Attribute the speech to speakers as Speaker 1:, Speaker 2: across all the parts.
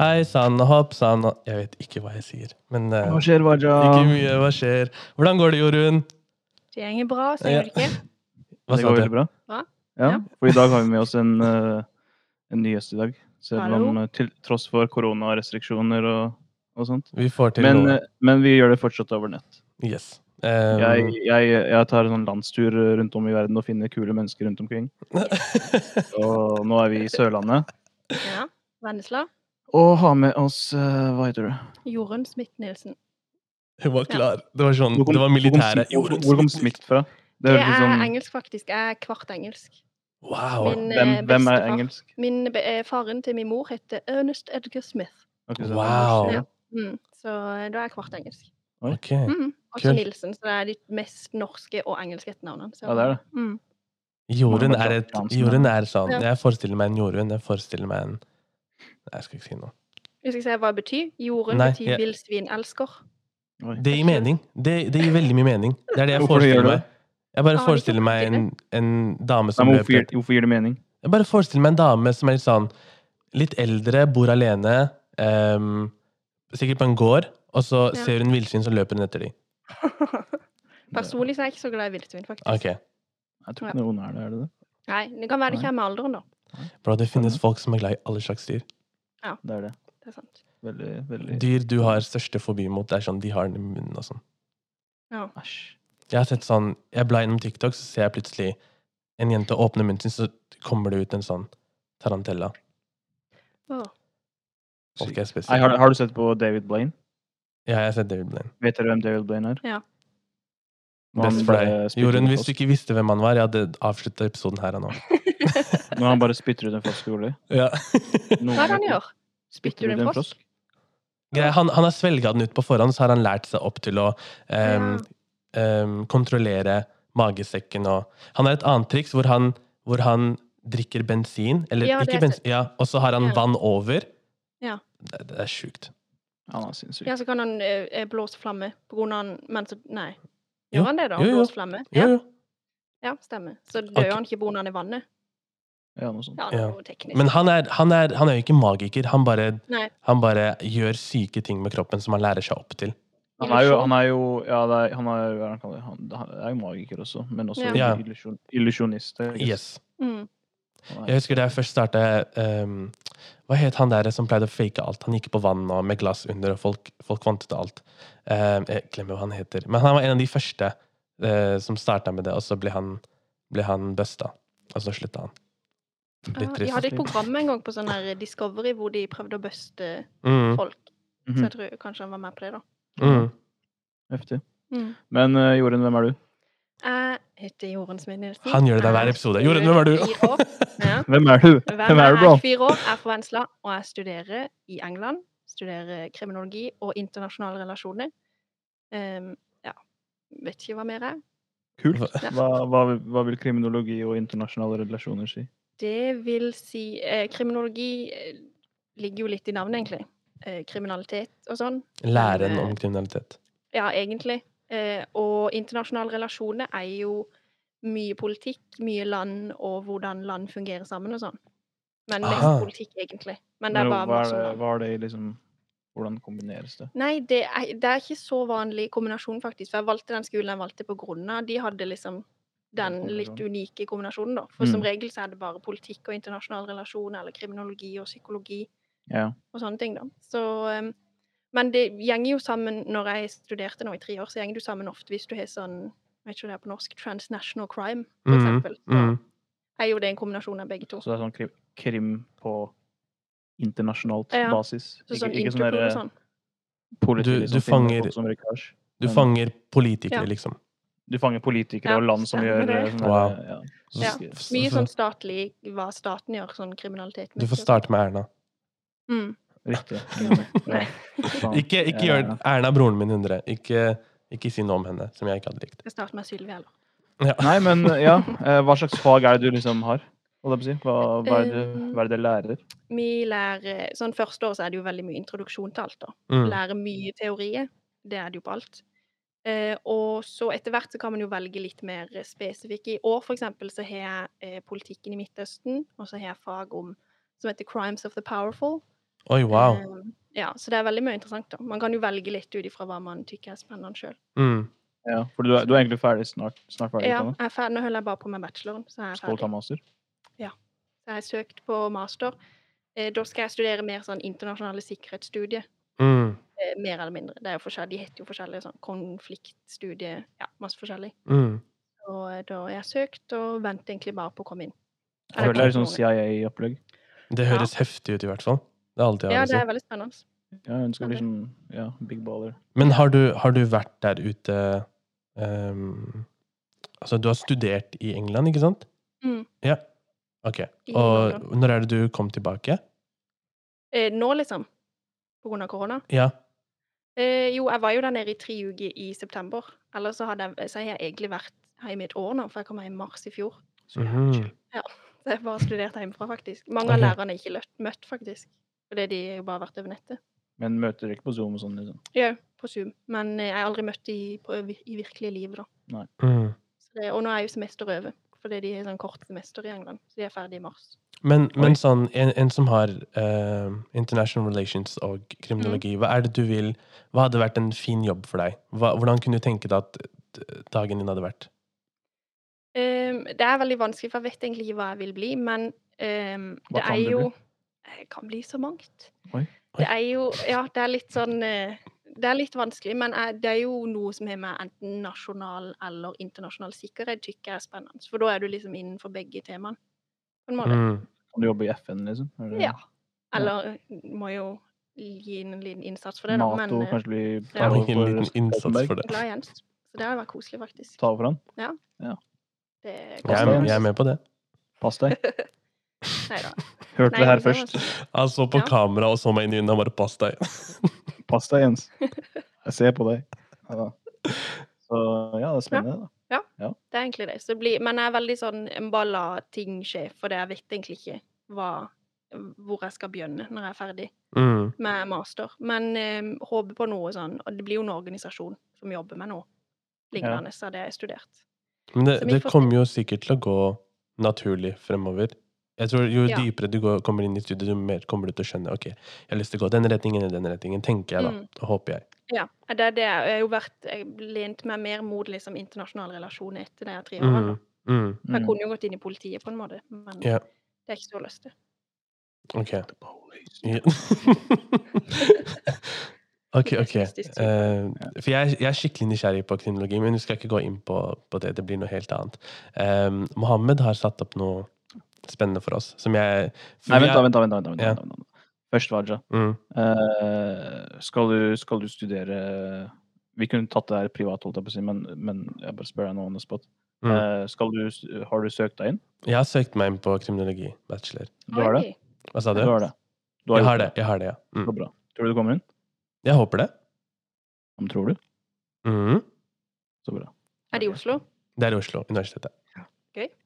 Speaker 1: Hei sann, hopp sann og- Jeg vet ikke hva jeg sier, men eh,
Speaker 2: Hva skjer, Vaja?
Speaker 1: ikke mye. Hva skjer? Hvordan går det, Jorunn?
Speaker 3: Det går bra, sier du ikke?
Speaker 1: Hva
Speaker 2: Det
Speaker 1: sa
Speaker 2: går
Speaker 1: du?
Speaker 2: veldig bra.
Speaker 3: Ja.
Speaker 2: Ja,
Speaker 3: Ja.
Speaker 2: for i dag har vi med oss en, eh, en ny gjest i dag. Selv
Speaker 3: Hallo.
Speaker 2: om eh, til tross for koronarestriksjoner og, og sånt.
Speaker 1: Vi får til
Speaker 2: Men,
Speaker 1: noe.
Speaker 2: eh, men vi gjør det fortsatt over nett.
Speaker 1: Yes. Um,
Speaker 2: Jeg, jeg, jeg tar en sånn landstur rundt om i verden og finner kule mennesker rundt omkring. Og nå er vi i Sørlandet.
Speaker 3: Ja. Vennesla.
Speaker 2: Og har med oss eh, Hva heter du?
Speaker 3: Jorunn Smith-Nielsen.
Speaker 1: Hun var klar. Det var sånn,
Speaker 2: Hvor kom-
Speaker 1: det var militæret.
Speaker 2: Hvor kom, Smith- hvor kom Smith fra?
Speaker 3: Det
Speaker 2: Det høres
Speaker 3: er
Speaker 2: ut som
Speaker 3: engelsk, faktisk. Jeg er kvart engelsk.
Speaker 1: Wow.
Speaker 3: Min, eh,
Speaker 2: Hvem, hvem er
Speaker 3: bestefar-
Speaker 2: engelsk?
Speaker 3: Min be- eh, Faren til min mor heter Ernest Edgar Smith.
Speaker 2: Ok, så-
Speaker 1: Wow.
Speaker 3: Ja. Mm. Så eh, da er jeg kvart engelsk.
Speaker 1: Ok.
Speaker 3: Mm. Også
Speaker 1: kult.
Speaker 3: Nielsen, så det er de mest norske og engelske etternavnene. så-
Speaker 2: Ja, det er det.
Speaker 3: Mm.
Speaker 1: Jorunn er, et,
Speaker 2: Hansen, ja.
Speaker 1: Jorunn er sånn.
Speaker 3: Ja.
Speaker 1: Jeg forestiller meg en Jorunn. Jeg forestiller meg en Nei, jeg skal ikke si noe.
Speaker 3: Hvis jeg sier hva det betyr Jorunn
Speaker 1: Nei,
Speaker 3: betyr
Speaker 1: jeg-
Speaker 3: villsvinelsker.
Speaker 2: Oi.
Speaker 1: Det gir mening. Det, det gir veldig mye mening. Det er det jeg
Speaker 2: Hvorfor gjør
Speaker 1: forestiller
Speaker 2: du
Speaker 1: meg.
Speaker 2: det?
Speaker 1: Jeg bare
Speaker 3: Har du ikke
Speaker 1: forestiller meg en, en dame
Speaker 2: Nei,
Speaker 1: som
Speaker 2: men
Speaker 1: løper
Speaker 2: hvorfor, gir, hvorfor gir det mening?
Speaker 1: Jeg bare forestiller meg en dame som er litt sånn Litt eldre, bor alene, ehm, sikkert på en gård, og så
Speaker 3: Ja.
Speaker 1: ser hun villsvin, så løper hun etter dem.
Speaker 3: Personlig så er jeg ikke så glad i villsvin, faktisk.
Speaker 1: Ok,
Speaker 2: Jeg tror ikke noen er det, er det det?
Speaker 3: Nei, Det kan være det kommer med alderen, da.
Speaker 1: bro, Det finnes folk som er glad i alle slags dyr.
Speaker 2: Det er det.
Speaker 3: Det er sant.
Speaker 2: Veldig, veldig
Speaker 1: Dyr du har største fobi mot, det er sånn de har den i munnen og sånn.
Speaker 3: Ja.
Speaker 2: Æsj.
Speaker 1: Jeg har sett sånn, jeg blar innom TikTok, så ser jeg plutselig en jente åpne munnen sin, så kommer det ut en sånn tarantella.
Speaker 3: Åh.
Speaker 1: Folk er
Speaker 2: Nei,
Speaker 1: spesielle.
Speaker 2: har, har du sett på David Blaine?
Speaker 1: Ja, jeg har sett David Blaine.
Speaker 2: Vet dere hvem David Blaine er?
Speaker 3: Ja.
Speaker 2: Når han eh,
Speaker 1: Best for
Speaker 2: bare
Speaker 1: deg.
Speaker 2: spytter ut
Speaker 1: Jorunn,
Speaker 2: en
Speaker 1: hvis du
Speaker 2: flaske-
Speaker 1: ikke visste hvem han var, jeg hadde avslutta episoden her og nå.
Speaker 2: Når han bare spytter ut en frosk, Ole.
Speaker 1: Ja.
Speaker 3: Hva er det han gjør? Spytter du
Speaker 2: Spytter ut en frosk?
Speaker 1: Greia, han, han har svelga den ut på forhånd, så har han lært seg opp til å em, em, kontrollere magesekken og Han har et annet triks hvor han, hvor han drikker bensin, eller
Speaker 3: Ja, det
Speaker 1: ikke
Speaker 3: har jeg
Speaker 1: bensin, ja, og så har han
Speaker 3: Ja.
Speaker 1: vann over.
Speaker 3: Ja.
Speaker 1: Det, det er sjukt.
Speaker 2: Ja, Han er sinnssyk.
Speaker 3: Ja, så kan han eh, eh, blåse flamme på grunn av han Men så Nei.
Speaker 1: Jo,
Speaker 3: Gjør han det, da?
Speaker 1: jo, jo.
Speaker 3: Blåse flamme?
Speaker 1: Jo,
Speaker 3: Ja,
Speaker 1: jo.
Speaker 3: ja, stemmer. Så dør
Speaker 1: Ok.
Speaker 3: han ikke på grunn av han i vannet?
Speaker 2: Ja, noe sånt.
Speaker 3: Ja, det er
Speaker 1: Ja.
Speaker 3: noe teknisk.
Speaker 1: Men han er, han, er, han er jo ikke magiker. Han bare,
Speaker 3: Nei.
Speaker 1: han bare gjør syke ting med kroppen som han lærer seg opp til.
Speaker 2: Han er jo, han er jo Ja, det er, han er, hva er det han, kaller det? han, han er jo magiker også, men også
Speaker 3: Ja.
Speaker 1: Ja.
Speaker 2: illusjon, illusjonist. I guess.
Speaker 1: Yes.
Speaker 3: Mm.
Speaker 2: Han er-
Speaker 1: Jeg husker da jeg først starta Hva het han der som pleide å fake alt? Han gikk på vann og med glass under, og folk, folk vantet alt. Ehm, jeg glemmer hva han heter. Men han var en av de første eh, som starta med det, og så ble han, ble han busta. Og så slutta han. Litt
Speaker 3: Ah, de
Speaker 1: trist.
Speaker 3: hadde et program en gang på sånn her Discovery hvor de prøvde å buste
Speaker 1: Mm,
Speaker 3: folk. Så
Speaker 2: Mhm,
Speaker 3: jeg tror kanskje han var med på det, da.
Speaker 1: mm.
Speaker 2: Heftig.
Speaker 3: Mm.
Speaker 2: Men eh, Jorunn, hvem er du?
Speaker 3: Jeg heter Jorunn Smid-Nielsen.
Speaker 1: Han gjør det der hver episode. Jorunn, hvem er du?
Speaker 3: Ja.
Speaker 2: Hvem er du?
Speaker 3: Hvem
Speaker 2: er
Speaker 3: er
Speaker 2: du, bro?
Speaker 3: Jeg er 24 år, er fra Vennesla, og jeg studerer i England. Studerer kriminologi og internasjonale relasjoner. Ehm, ja. Vet ikke hva mer er.
Speaker 2: Kult.
Speaker 3: Ja.
Speaker 2: Hva, hva, hva vil kriminologi og internasjonale relasjoner si?
Speaker 3: Det vil si eh, Kriminologi eh, ligger jo litt i navnet, egentlig. Eh, kriminalitet og sånn.
Speaker 1: Læren om kriminalitet.
Speaker 3: Ja, egentlig. Eh, og internasjonale relasjoner er jo mye politikk, mye land og hvordan land fungerer sammen og sånn. Men mest
Speaker 1: Aha.
Speaker 3: politikk, egentlig. Men det
Speaker 2: Men
Speaker 3: er
Speaker 2: hva
Speaker 3: bare
Speaker 2: er
Speaker 3: masse
Speaker 2: det,
Speaker 3: land.
Speaker 2: hva er det liksom Hvordan kombineres det?
Speaker 3: Nei, det er, det er ikke så vanlig kombinasjon, faktisk. For jeg valgte den skolen jeg valgte på grunn av. De hadde liksom den
Speaker 2: Den
Speaker 3: litt
Speaker 2: kombinasjonen.
Speaker 3: unike kombinasjonen, da. For
Speaker 2: Mm.
Speaker 3: som regel så er det bare politikk og internasjonale relasjoner, eller kriminologi og psykologi
Speaker 2: Ja.
Speaker 3: og sånne ting, da. Så um, Men det gjenger jo sammen Når jeg studerte nå i tre år, så gjenger det jo sammen ofte hvis du har sånn jeg vet ikke hva det er på norsk transnational crime, for
Speaker 1: Mm,
Speaker 3: eksempel. Så
Speaker 1: mm.
Speaker 3: er jo det en kombinasjon av begge to.
Speaker 2: Så det er sånn krim, krim på internasjonalt
Speaker 3: Ja.
Speaker 2: basis?
Speaker 3: Så sånn
Speaker 2: ikke ikke sånn
Speaker 3: Interpol og
Speaker 2: derre
Speaker 3: sånn.
Speaker 2: politi
Speaker 1: Du-
Speaker 2: liksom,
Speaker 1: du
Speaker 2: finner
Speaker 1: fanger-
Speaker 2: folk som røyker hasj.
Speaker 1: Du
Speaker 2: Men
Speaker 1: fanger politikere,
Speaker 3: Ja.
Speaker 1: liksom.
Speaker 2: Du fanger politikere
Speaker 3: Ja,
Speaker 2: og land som gjør
Speaker 3: stemmer det.
Speaker 2: eh, sånn
Speaker 1: Wow.
Speaker 2: derre- ja.
Speaker 1: Så-
Speaker 3: Ja.
Speaker 1: så-
Speaker 3: Mye
Speaker 1: så-
Speaker 3: sånn statlig hva staten gjør, sånn kriminalitet.
Speaker 1: Du får starte med Erna.
Speaker 3: Mm.
Speaker 2: Riktig.
Speaker 3: Nei.
Speaker 2: Faen.
Speaker 1: Ikke, ikke
Speaker 2: Ja,
Speaker 1: gjør
Speaker 2: ja.
Speaker 1: Erna er broren min 100. Ikke, ikke si noe om henne, som jeg ikke hadde likt.
Speaker 3: Skal jeg starte med Sylvi, eller?
Speaker 1: Ja.
Speaker 2: Nei, men ja. eh, Hva slags fag er det du liksom har? Holdt jeg på å si. Hva, hva, er det,
Speaker 3: Um,
Speaker 2: hva er det dere lærer?
Speaker 3: Vi lærer Sånn første år så er det jo veldig mye introduksjon til alt, da.
Speaker 1: Mm.
Speaker 3: Lærer mye teorier. Det er det jo på alt. Eh, og så etter hvert så kan man jo velge litt mer eh, spesifikk. I år for eksempel så har jeg eh, politikken i Midtøsten, og så har jeg fag om som heter Crimes of the Powerful.
Speaker 1: Oi, wow.
Speaker 3: Eh, Ja, så det er veldig mye interessant. da. Man kan jo velge litt ut ifra hva man tykker er spennende sjøl.
Speaker 1: Mm.
Speaker 2: Ja, for du er, du er egentlig ferdig snart? snart ferdig,
Speaker 3: Ja,
Speaker 2: Tanja.
Speaker 3: jeg er ferdig, nå holder jeg bare på med bacheloren. så jeg er
Speaker 2: Skal du ta
Speaker 3: ferdig.
Speaker 2: master?
Speaker 3: Så jeg har søkt på master. Eh, Da skal jeg studere mer sånn internasjonale sikkerhetsstudier.
Speaker 1: Mm.
Speaker 3: eh, Mer eller mindre. Det er jo forskjellig, De heter jo forskjellige sånn konfliktstudier, ja, masse forskjellig.
Speaker 1: Mm.
Speaker 3: Og eh, da har jeg søkt, og venter egentlig bare på å komme inn.
Speaker 2: Jeg føler det er litt sånn CIA-opplegg.
Speaker 1: Det høres heftig ut, i hvert fall. Det er alt jeg
Speaker 3: Ja,
Speaker 1: har å
Speaker 3: det
Speaker 1: si.
Speaker 3: er veldig spennende.
Speaker 2: Ja, hun skal bli
Speaker 3: Ok.
Speaker 2: sånn ja, big baller.
Speaker 1: Men har du, har du vært der ute ehm, Altså, du har studert i England, ikke sant?
Speaker 3: Mm.
Speaker 1: Ja. Ok.
Speaker 3: I
Speaker 1: Og
Speaker 3: England.
Speaker 1: når er det du kom tilbake?
Speaker 3: Eh, Nå, liksom. På grunn av korona.
Speaker 1: Ja.
Speaker 3: Eh, jo, jeg var jo der nede i tre uker i september. Ellers så, hadde jeg, så har jeg egentlig vært hjemme i et år nå, for jeg kom hjem i mars i fjor.
Speaker 1: Mhm.
Speaker 3: Så jeg bare studerte hjemmefra, faktisk. Mange av
Speaker 1: Ok.
Speaker 3: lærerne er ikke løtt, møtt, faktisk. Fordi de har jo bare vært over nettet.
Speaker 2: Men møter dere ikke på Zoom og sånn? liksom.
Speaker 3: Ja, på Zoom. Men eh, jeg har aldri møtt de på, i virkelige livet, da.
Speaker 1: Mm.
Speaker 3: Så det, og nå er jo semester over, fordi de har sånn kort semester i England. Så de er ferdig i mars.
Speaker 1: Men,
Speaker 2: Oi.
Speaker 1: men sånn, en, en som har ehm, international relations og
Speaker 3: Mm.
Speaker 1: kriminologi, hva er det du vil Hva hadde vært en fin jobb for deg? Hva, hvordan kunne du tenke deg at eh, dagen din hadde vært?
Speaker 3: Ehm, det er veldig vanskelig, for jeg vet egentlig ikke hva jeg vil bli, men ehm,
Speaker 2: Hva
Speaker 3: det
Speaker 2: kan
Speaker 3: er
Speaker 2: du bli?
Speaker 3: jo Jeg kan bli så mangt.
Speaker 2: Oi.
Speaker 3: Det er jo Ja, det er litt sånn eh, Det er litt vanskelig, men jeg, det er jo noe som har med enten nasjonal eller internasjonal sikkerhet tykker jeg er spennende. For da er du liksom innenfor begge temaene, på en måte.
Speaker 1: Mm.
Speaker 2: Kan du jobbe i FN, liksom? Er det-
Speaker 3: Ja. Eller øh, må jo gi en liten innsats for det, da.
Speaker 2: Nato,
Speaker 3: Men eh,
Speaker 2: kanskje bli
Speaker 1: Jeg
Speaker 3: Ja.
Speaker 1: må
Speaker 2: over
Speaker 1: gi en liten innsats for
Speaker 3: jeg er
Speaker 1: det.
Speaker 3: glad i Jens. Så det hadde vært koselig, faktisk.
Speaker 2: Ta over for han.
Speaker 3: Det
Speaker 1: Jeg er, jeg er med på det.
Speaker 2: Pass deg.
Speaker 3: Nei da.
Speaker 2: Hørte
Speaker 3: Nei,
Speaker 2: det her
Speaker 3: det var
Speaker 2: først.
Speaker 1: Han så på
Speaker 3: Ja.
Speaker 1: kamera og så meg inn i øynene og bare 'pass deg'.
Speaker 2: Pass deg, Jens. Jeg ser på deg. Ja, da. Så ja, det er spennende, da.
Speaker 3: Det er egentlig det. Så det blir, men jeg er veldig sånn en bare la ting skje, for det jeg vet egentlig ikke hva, hvor jeg skal begynne når jeg er ferdig
Speaker 1: Mm.
Speaker 3: med master. Men eh, håper på noe sånn Og det blir jo en organisasjon som jobber med noe lignende av det jeg har studert.
Speaker 1: Men det,
Speaker 3: Så vi
Speaker 1: det
Speaker 3: får se.
Speaker 1: kommer jo sikkert til å gå naturlig fremover. Jeg tror Jo
Speaker 3: Ja.
Speaker 1: dypere du går, kommer inn i studiet, jo mer kommer du til å skjønne ok, jeg har lyst til å gå den retningen eller den retningen, tenker jeg da.
Speaker 3: Mm.
Speaker 1: Og håper jeg.
Speaker 3: Ja. Det er det. Jeg har jo vært jeg lent meg mer mot liksom, internasjonale relasjoner etter det jeg tre årene.
Speaker 1: Mm. Mm.
Speaker 3: Jeg
Speaker 2: Mm.
Speaker 3: kunne jo gått inn i politiet på en måte, men
Speaker 1: Ja.
Speaker 3: det er ikke så lyst til.
Speaker 1: Ok.
Speaker 2: The police.
Speaker 1: Ja. ok, ok.
Speaker 3: Pessimistisk type.
Speaker 1: Eh, for jeg, jeg er skikkelig nysgjerrig på kriminologi, men vi skal ikke gå inn på, på det. Det blir noe helt annet. Um, Mohammed har satt opp noe spennende for oss, som jeg for
Speaker 2: Nei,
Speaker 1: vi
Speaker 2: vent,
Speaker 1: er-
Speaker 2: da. vent da, vent da, vent da, vent da,
Speaker 1: Ja.
Speaker 2: vent da. Først, Raja.
Speaker 1: Mm.
Speaker 2: Eh, skal, du, skal du studere Vi kunne tatt det her privat, holdt jeg på å si, men, men jeg bare spør deg nå on the spot.
Speaker 1: Mm.
Speaker 2: Eh, skal du, har du søkt deg inn?
Speaker 1: Jeg har søkt meg inn på kriminologi, bachelor.
Speaker 2: Du har det?
Speaker 3: Oi,
Speaker 1: Hva sa
Speaker 2: Du
Speaker 1: du?
Speaker 2: har det. Du
Speaker 1: Jeg
Speaker 2: gjort
Speaker 1: har det, jeg har det, ja.
Speaker 2: Så
Speaker 1: Mm.
Speaker 2: bra. Tror du du kommer inn?
Speaker 1: Jeg håper det.
Speaker 2: Om tror du?
Speaker 1: Mm.
Speaker 2: Så bra.
Speaker 3: Er det i Oslo?
Speaker 1: Det er i Oslo, universitetet.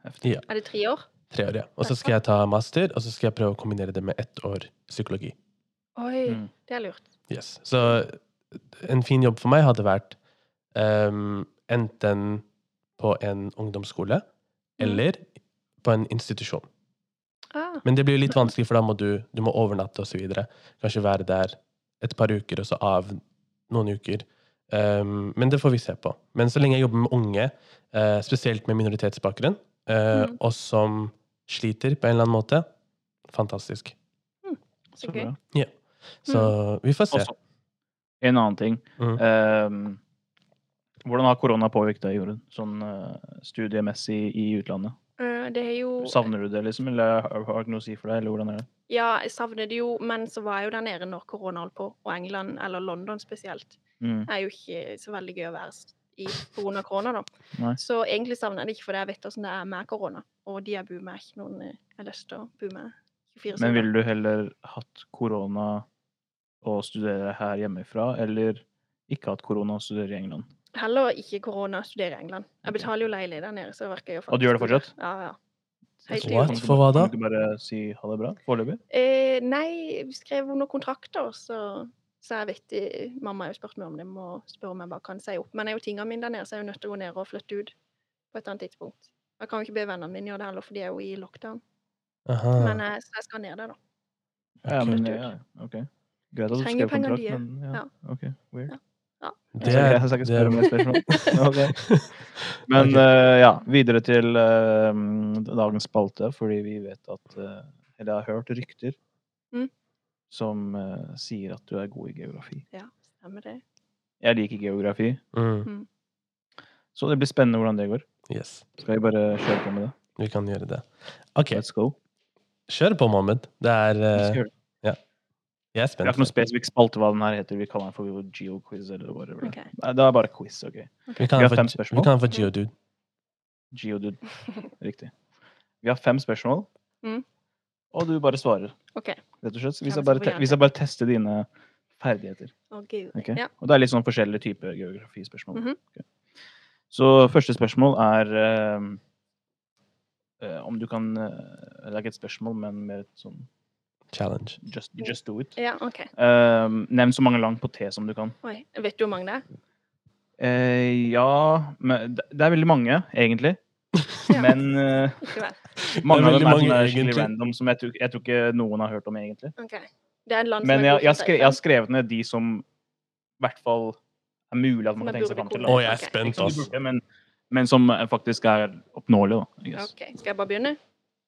Speaker 2: Heftig.
Speaker 1: Ja.
Speaker 3: Er det tre år?
Speaker 1: Tre år, ja. Og så skal jeg ta master, og så skal jeg prøve å kombinere det med ett år psykologi.
Speaker 3: Oi,
Speaker 2: Mm.
Speaker 3: det er lurt.
Speaker 1: Yes. Så en fin jobb for meg hadde vært ehm, enten på en ungdomsskole
Speaker 2: Mm.
Speaker 1: eller på en institusjon.
Speaker 3: Ah,
Speaker 1: Men det blir jo litt vanskelig, for da må du, du må overnatte osv. Kanskje være der et par uker, og så av noen uker. Ehm, men det får vi se på. Men så lenge jeg jobber med unge, eh, spesielt med minoritetsbakgrunn, eh,
Speaker 3: Mm.
Speaker 1: og som sliter på en eller annen måte, fantastisk.
Speaker 3: så
Speaker 2: Så
Speaker 3: gøy.
Speaker 2: bra.
Speaker 1: Så
Speaker 3: Mm.
Speaker 1: vi får se.
Speaker 2: Også, en annen ting.
Speaker 1: Mm.
Speaker 2: Ehm, hvordan har korona påvirket deg, Jorunn? Sånn eh, studiemessig i utlandet?
Speaker 3: Eh, Det er jo
Speaker 2: Savner du det, liksom? Eller har har det ikke noe å si for deg? Eller hvordan er det?
Speaker 3: Ja, jeg savner det jo, men så var jeg jo der nede når korona holdt på, og England, eller London spesielt,
Speaker 2: Mm.
Speaker 3: er jo ikke så veldig gøy å være s- i pga. korona, da.
Speaker 2: Nei.
Speaker 3: Så egentlig savner jeg det ikke, for jeg vet hvordan det er med korona. Og de jeg bor med, er ikke noen eh, jeg har lyst til å bo med 24
Speaker 2: Men ville du heller hatt korona og studere her hjemmefra, eller ikke hatt korona og studere i England?
Speaker 3: Heller ikke korona, studere i England. Jeg
Speaker 2: Ok.
Speaker 3: betaler jo leilig der nede, så det verker jo
Speaker 2: Og du gjør det fortsatt?
Speaker 3: Ja, ja. Helt
Speaker 2: Så
Speaker 1: What?
Speaker 2: Kan du ikke
Speaker 1: For hva
Speaker 2: bare-
Speaker 1: da?
Speaker 2: Kan du ikke bare si ha det bra foreløpig?
Speaker 3: Eh, nei, vi skrev under kontrakter, så, så jeg vet i- Mamma har jo spurt meg om det, må spørre om jeg bare kan si opp. Men jeg har jo tingene mine der nede, så jeg er jo nødt til å gå ned og flytte ut på et annet tidspunkt.
Speaker 2: Ah.
Speaker 3: eh, Jeg kan jo ikke be vennene mine gjøre det heller, for de er jo i lockdown.
Speaker 1: Aha.
Speaker 3: Men jeg, så jeg skal ned der, da.
Speaker 2: Ja,
Speaker 1: Ok.
Speaker 2: men, ja, ja, ok. Greit at du
Speaker 3: Trenger
Speaker 2: skrev
Speaker 3: penger,
Speaker 2: kontrakt,
Speaker 3: de, ja.
Speaker 2: men ja.
Speaker 3: Ja.
Speaker 2: Ok, weird.
Speaker 1: Det,
Speaker 2: Jeg skal ikke- eh, jeg skal ikke spørre om
Speaker 1: det,
Speaker 2: det spørsmålet. Ok. Men eh, ja, videre til eh, dagens spalte, fordi vi vet at eh, Eller jeg har hørt rykter
Speaker 3: Mm.
Speaker 2: som eh, sier at du er god i geografi.
Speaker 3: Ja, stemmer det.
Speaker 2: Jeg liker geografi,
Speaker 1: mm,
Speaker 2: så det blir spennende hvordan det går.
Speaker 1: yes,
Speaker 2: Skal vi bare kjøre på med det?
Speaker 1: vi kan gjøre det. OK,
Speaker 2: Let's go.
Speaker 1: kjør på, Mohammed. Det er
Speaker 2: Vi
Speaker 1: eh,
Speaker 2: skal gjøre det.
Speaker 1: Jeg er
Speaker 2: Det
Speaker 1: spent.
Speaker 2: er ikke noe spesifikk spalte hva den her heter. Vi kaller den for GeoQuiz eller whatever.
Speaker 3: OK.
Speaker 2: Nei, det er bare quiz, OK?
Speaker 1: Vi kan
Speaker 2: Vi
Speaker 1: ha
Speaker 2: har
Speaker 1: for,
Speaker 2: fem
Speaker 1: vi
Speaker 2: spørsmål.
Speaker 1: kan ha for Geodude.
Speaker 2: Geodude. Riktig. Vi har fem spørsmål,
Speaker 3: Mm.
Speaker 2: og du bare svarer.
Speaker 3: Ok.
Speaker 2: Rett og slett. Vi
Speaker 3: Ja, men så
Speaker 2: skal bare,
Speaker 3: får
Speaker 2: te
Speaker 3: jeg
Speaker 2: vi skal bare teste dine ferdigheter.
Speaker 3: Og gud.
Speaker 2: ok?
Speaker 3: Ja.
Speaker 2: Og det er litt sånn forskjellige typer geografispørsmål.
Speaker 3: Mhm.
Speaker 2: Ok. Så første spørsmål er eh, eh, om du kan eh, Det er ikke et spørsmål, men mer et sånn
Speaker 1: Challenge.
Speaker 2: just, just do it.
Speaker 3: ja, OK.
Speaker 2: Eh, nevn så mange lang på T som du kan.
Speaker 3: Oi. Vet du hvor mange det er?
Speaker 2: Eh, ja men det det er veldig mange, egentlig.
Speaker 3: Ja.
Speaker 2: Men eh,
Speaker 3: Ikke vel.
Speaker 2: Mange av
Speaker 1: veldig
Speaker 2: dem er
Speaker 1: mange,
Speaker 2: sånne skikkelig
Speaker 1: egentlig.
Speaker 2: random som jeg tror, jeg tror ikke noen har hørt om, egentlig.
Speaker 3: OK. Det er en land som
Speaker 2: Men
Speaker 3: er
Speaker 2: jeg,
Speaker 3: god
Speaker 2: jeg, har
Speaker 3: for
Speaker 2: skre,
Speaker 3: seg
Speaker 2: jeg har
Speaker 3: selv.
Speaker 2: skrevet ned de som i hvert fall er mulig at
Speaker 3: Som
Speaker 2: man
Speaker 3: er
Speaker 2: kan tenke seg fram til.
Speaker 3: burde
Speaker 1: Å,
Speaker 2: da.
Speaker 3: kunne.
Speaker 1: jeg er
Speaker 3: Ok.
Speaker 1: spent,
Speaker 2: Som de
Speaker 1: ass.
Speaker 2: burde, men, men som eh, faktisk er oppnåelig, da. I guess.
Speaker 3: OK. Skal jeg bare begynne?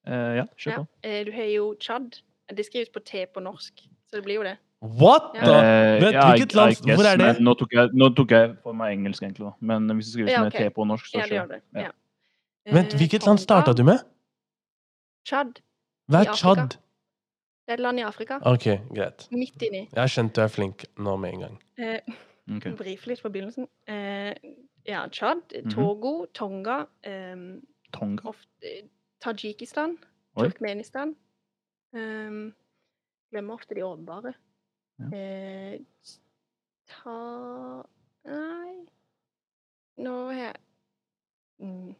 Speaker 2: Eh, ja, kjør
Speaker 3: Ja.
Speaker 2: på.
Speaker 3: Eh, Du har jo Tsjad. Det skrives på T på norsk, så det blir jo det.
Speaker 1: What?!
Speaker 3: Ja.
Speaker 1: the-
Speaker 2: Eh,
Speaker 1: Vent,
Speaker 2: ja, I-
Speaker 1: hvilket land-
Speaker 2: I guess,
Speaker 1: hvor er det?
Speaker 2: men Nå tok, jeg, nå tok jeg for meg engelsk, egentlig. da. Men hvis det skrives
Speaker 3: Ja,
Speaker 2: med
Speaker 3: ok.
Speaker 2: T på norsk, så
Speaker 3: Ja, det
Speaker 2: skjer
Speaker 3: gjør
Speaker 2: det. Ja.
Speaker 3: det. Ja.
Speaker 1: Vent,
Speaker 3: Eh,
Speaker 1: hvilket land starta du med?
Speaker 3: Tsjad.
Speaker 1: Hva
Speaker 3: I
Speaker 1: er
Speaker 3: Afrika.
Speaker 1: Tsjad?
Speaker 3: Det er et land i Afrika.
Speaker 2: Ah.
Speaker 1: OK, greit.
Speaker 3: Midt inni.
Speaker 1: Jeg har skjønt du er flink nå med en gang.
Speaker 3: Eh,
Speaker 2: Ok.
Speaker 3: Brife litt fra begynnelsen. Eh, ja, Tsjad,
Speaker 2: Mhm.
Speaker 3: Togo, Tonga, eh,
Speaker 2: Tonga.
Speaker 3: of- eh, Tadsjikistan,
Speaker 2: Oi.
Speaker 3: Turkmenistan. Eh, glemmer ofte de åpenbare.
Speaker 2: Ja.
Speaker 3: Eh, ta Nei Nå har jeg mm.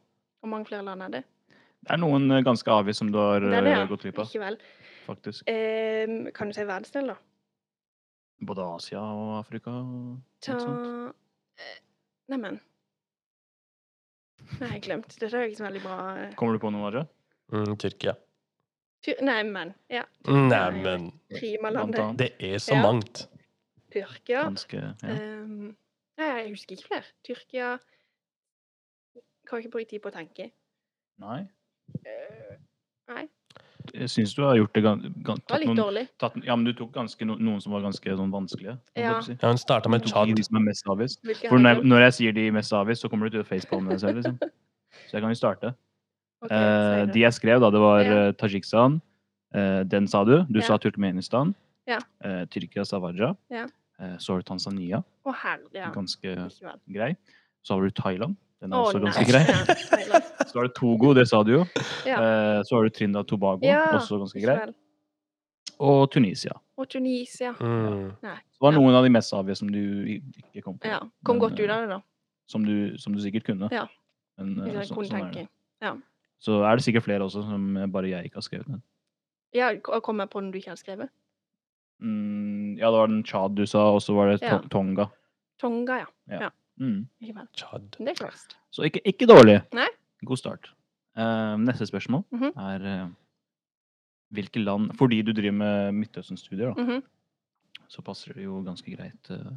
Speaker 3: Hvor mange flere land er det?
Speaker 2: Det er noen eh, ganske avvist som du har
Speaker 3: Det er det,
Speaker 2: eh,
Speaker 3: ja.
Speaker 2: gått glipp av,
Speaker 3: Ikke vel.
Speaker 2: faktisk.
Speaker 3: Eh, kan du si verdensdel, da?
Speaker 2: Både Asia og Afrika. og-
Speaker 3: Ta
Speaker 2: Ikke
Speaker 3: eh, Neimen Nei, jeg glemt. Dette er jo ikke så veldig bra. eh.
Speaker 2: Kommer du på noe, Arja?
Speaker 1: Mm, Tyrkia.
Speaker 3: Ty- Nei, men. Ja.
Speaker 1: Neimen,
Speaker 2: Blant
Speaker 3: Primalandet.
Speaker 2: annet.
Speaker 1: det er så
Speaker 3: Ja.
Speaker 1: mangt.
Speaker 3: Tyrkia.
Speaker 2: Ganske ja.
Speaker 3: ehm, nei, jeg husker ikke flere. Tyrkia Kan ikke bruke tid på å tenke.
Speaker 2: Nei.
Speaker 3: Eh,
Speaker 2: Jeg syns du har gjort det gan gan
Speaker 3: det var
Speaker 2: tatt
Speaker 3: litt
Speaker 2: noen,
Speaker 3: dårlig.
Speaker 2: tatt, Ja, men du tok ganske no noen som var ganske sånn vanskelige. holdt jeg
Speaker 3: Ja.
Speaker 2: på å si.
Speaker 1: Ja, hun starta med
Speaker 2: Du tok
Speaker 1: Tsjad.
Speaker 2: de som er mest avvist.
Speaker 3: Hvilke
Speaker 2: For
Speaker 3: har
Speaker 2: når
Speaker 3: jeg
Speaker 2: jeg, når jeg sier de mest avvist, så kommer du til å facepalme deg selv, liksom. Så jeg kan jo starte.
Speaker 3: Ok,
Speaker 2: Eh,
Speaker 3: sier
Speaker 2: de
Speaker 3: du.
Speaker 2: jeg skrev, da, det var
Speaker 3: Ja.
Speaker 2: eh, Tadsjikistan. Eh, den sa du. Du
Speaker 3: Ja.
Speaker 2: sa Turkmenistan.
Speaker 3: Ja.
Speaker 2: Eh, Tyrkia sa Varja.
Speaker 3: Ja.
Speaker 2: Eh, så har du Tanzania.
Speaker 3: Å, herre, ja.
Speaker 2: Ganske
Speaker 3: Ikke vel.
Speaker 2: grei. Så har du Thailand. Den er
Speaker 3: Å,
Speaker 2: også
Speaker 3: nei.
Speaker 2: ganske grei.
Speaker 3: Ja, Thailand.
Speaker 2: Så har du Togo, det sa du jo.
Speaker 3: Ja,
Speaker 2: Eh, Så har du Trinidad og Tobago,
Speaker 3: Ja,
Speaker 2: også ganske
Speaker 3: ikke
Speaker 2: grei.
Speaker 3: vel.
Speaker 2: Og Tunisia.
Speaker 3: Og Tunisia.
Speaker 1: Mm.
Speaker 2: Det var
Speaker 3: Ja.
Speaker 2: noen av de mest avgjørende som du i- ikke kom på.
Speaker 3: Ja. Kom
Speaker 2: Men,
Speaker 3: godt
Speaker 2: eh,
Speaker 3: ut av det, da.
Speaker 2: Som, du, som du sikkert kunne.
Speaker 3: Ja.
Speaker 2: Men, eh,
Speaker 3: Hvis jeg
Speaker 2: så,
Speaker 3: kunne
Speaker 2: sånn er det.
Speaker 3: tenke.
Speaker 2: Så er det sikkert flere også som eh, bare jeg ikke har skrevet ned.
Speaker 3: Ja, k- kom jeg på den du ikke hadde skrevet?
Speaker 2: Mm, ja, det var den Tsjad du sa, og så var det
Speaker 3: Ja.
Speaker 2: to Tonga.
Speaker 3: Tonga, ja.
Speaker 2: Mm.
Speaker 3: Ikke vel.
Speaker 1: Tsjad.
Speaker 3: Det er klart.
Speaker 2: Så ikke, ikke dårlig.
Speaker 3: Nei.
Speaker 2: God start. Eh, neste spørsmål
Speaker 3: Mhm.
Speaker 2: er eh, hvilke land Fordi du driver med Midtøsten-studier, da.
Speaker 3: Mhm.
Speaker 2: så passer det jo ganske greit eh,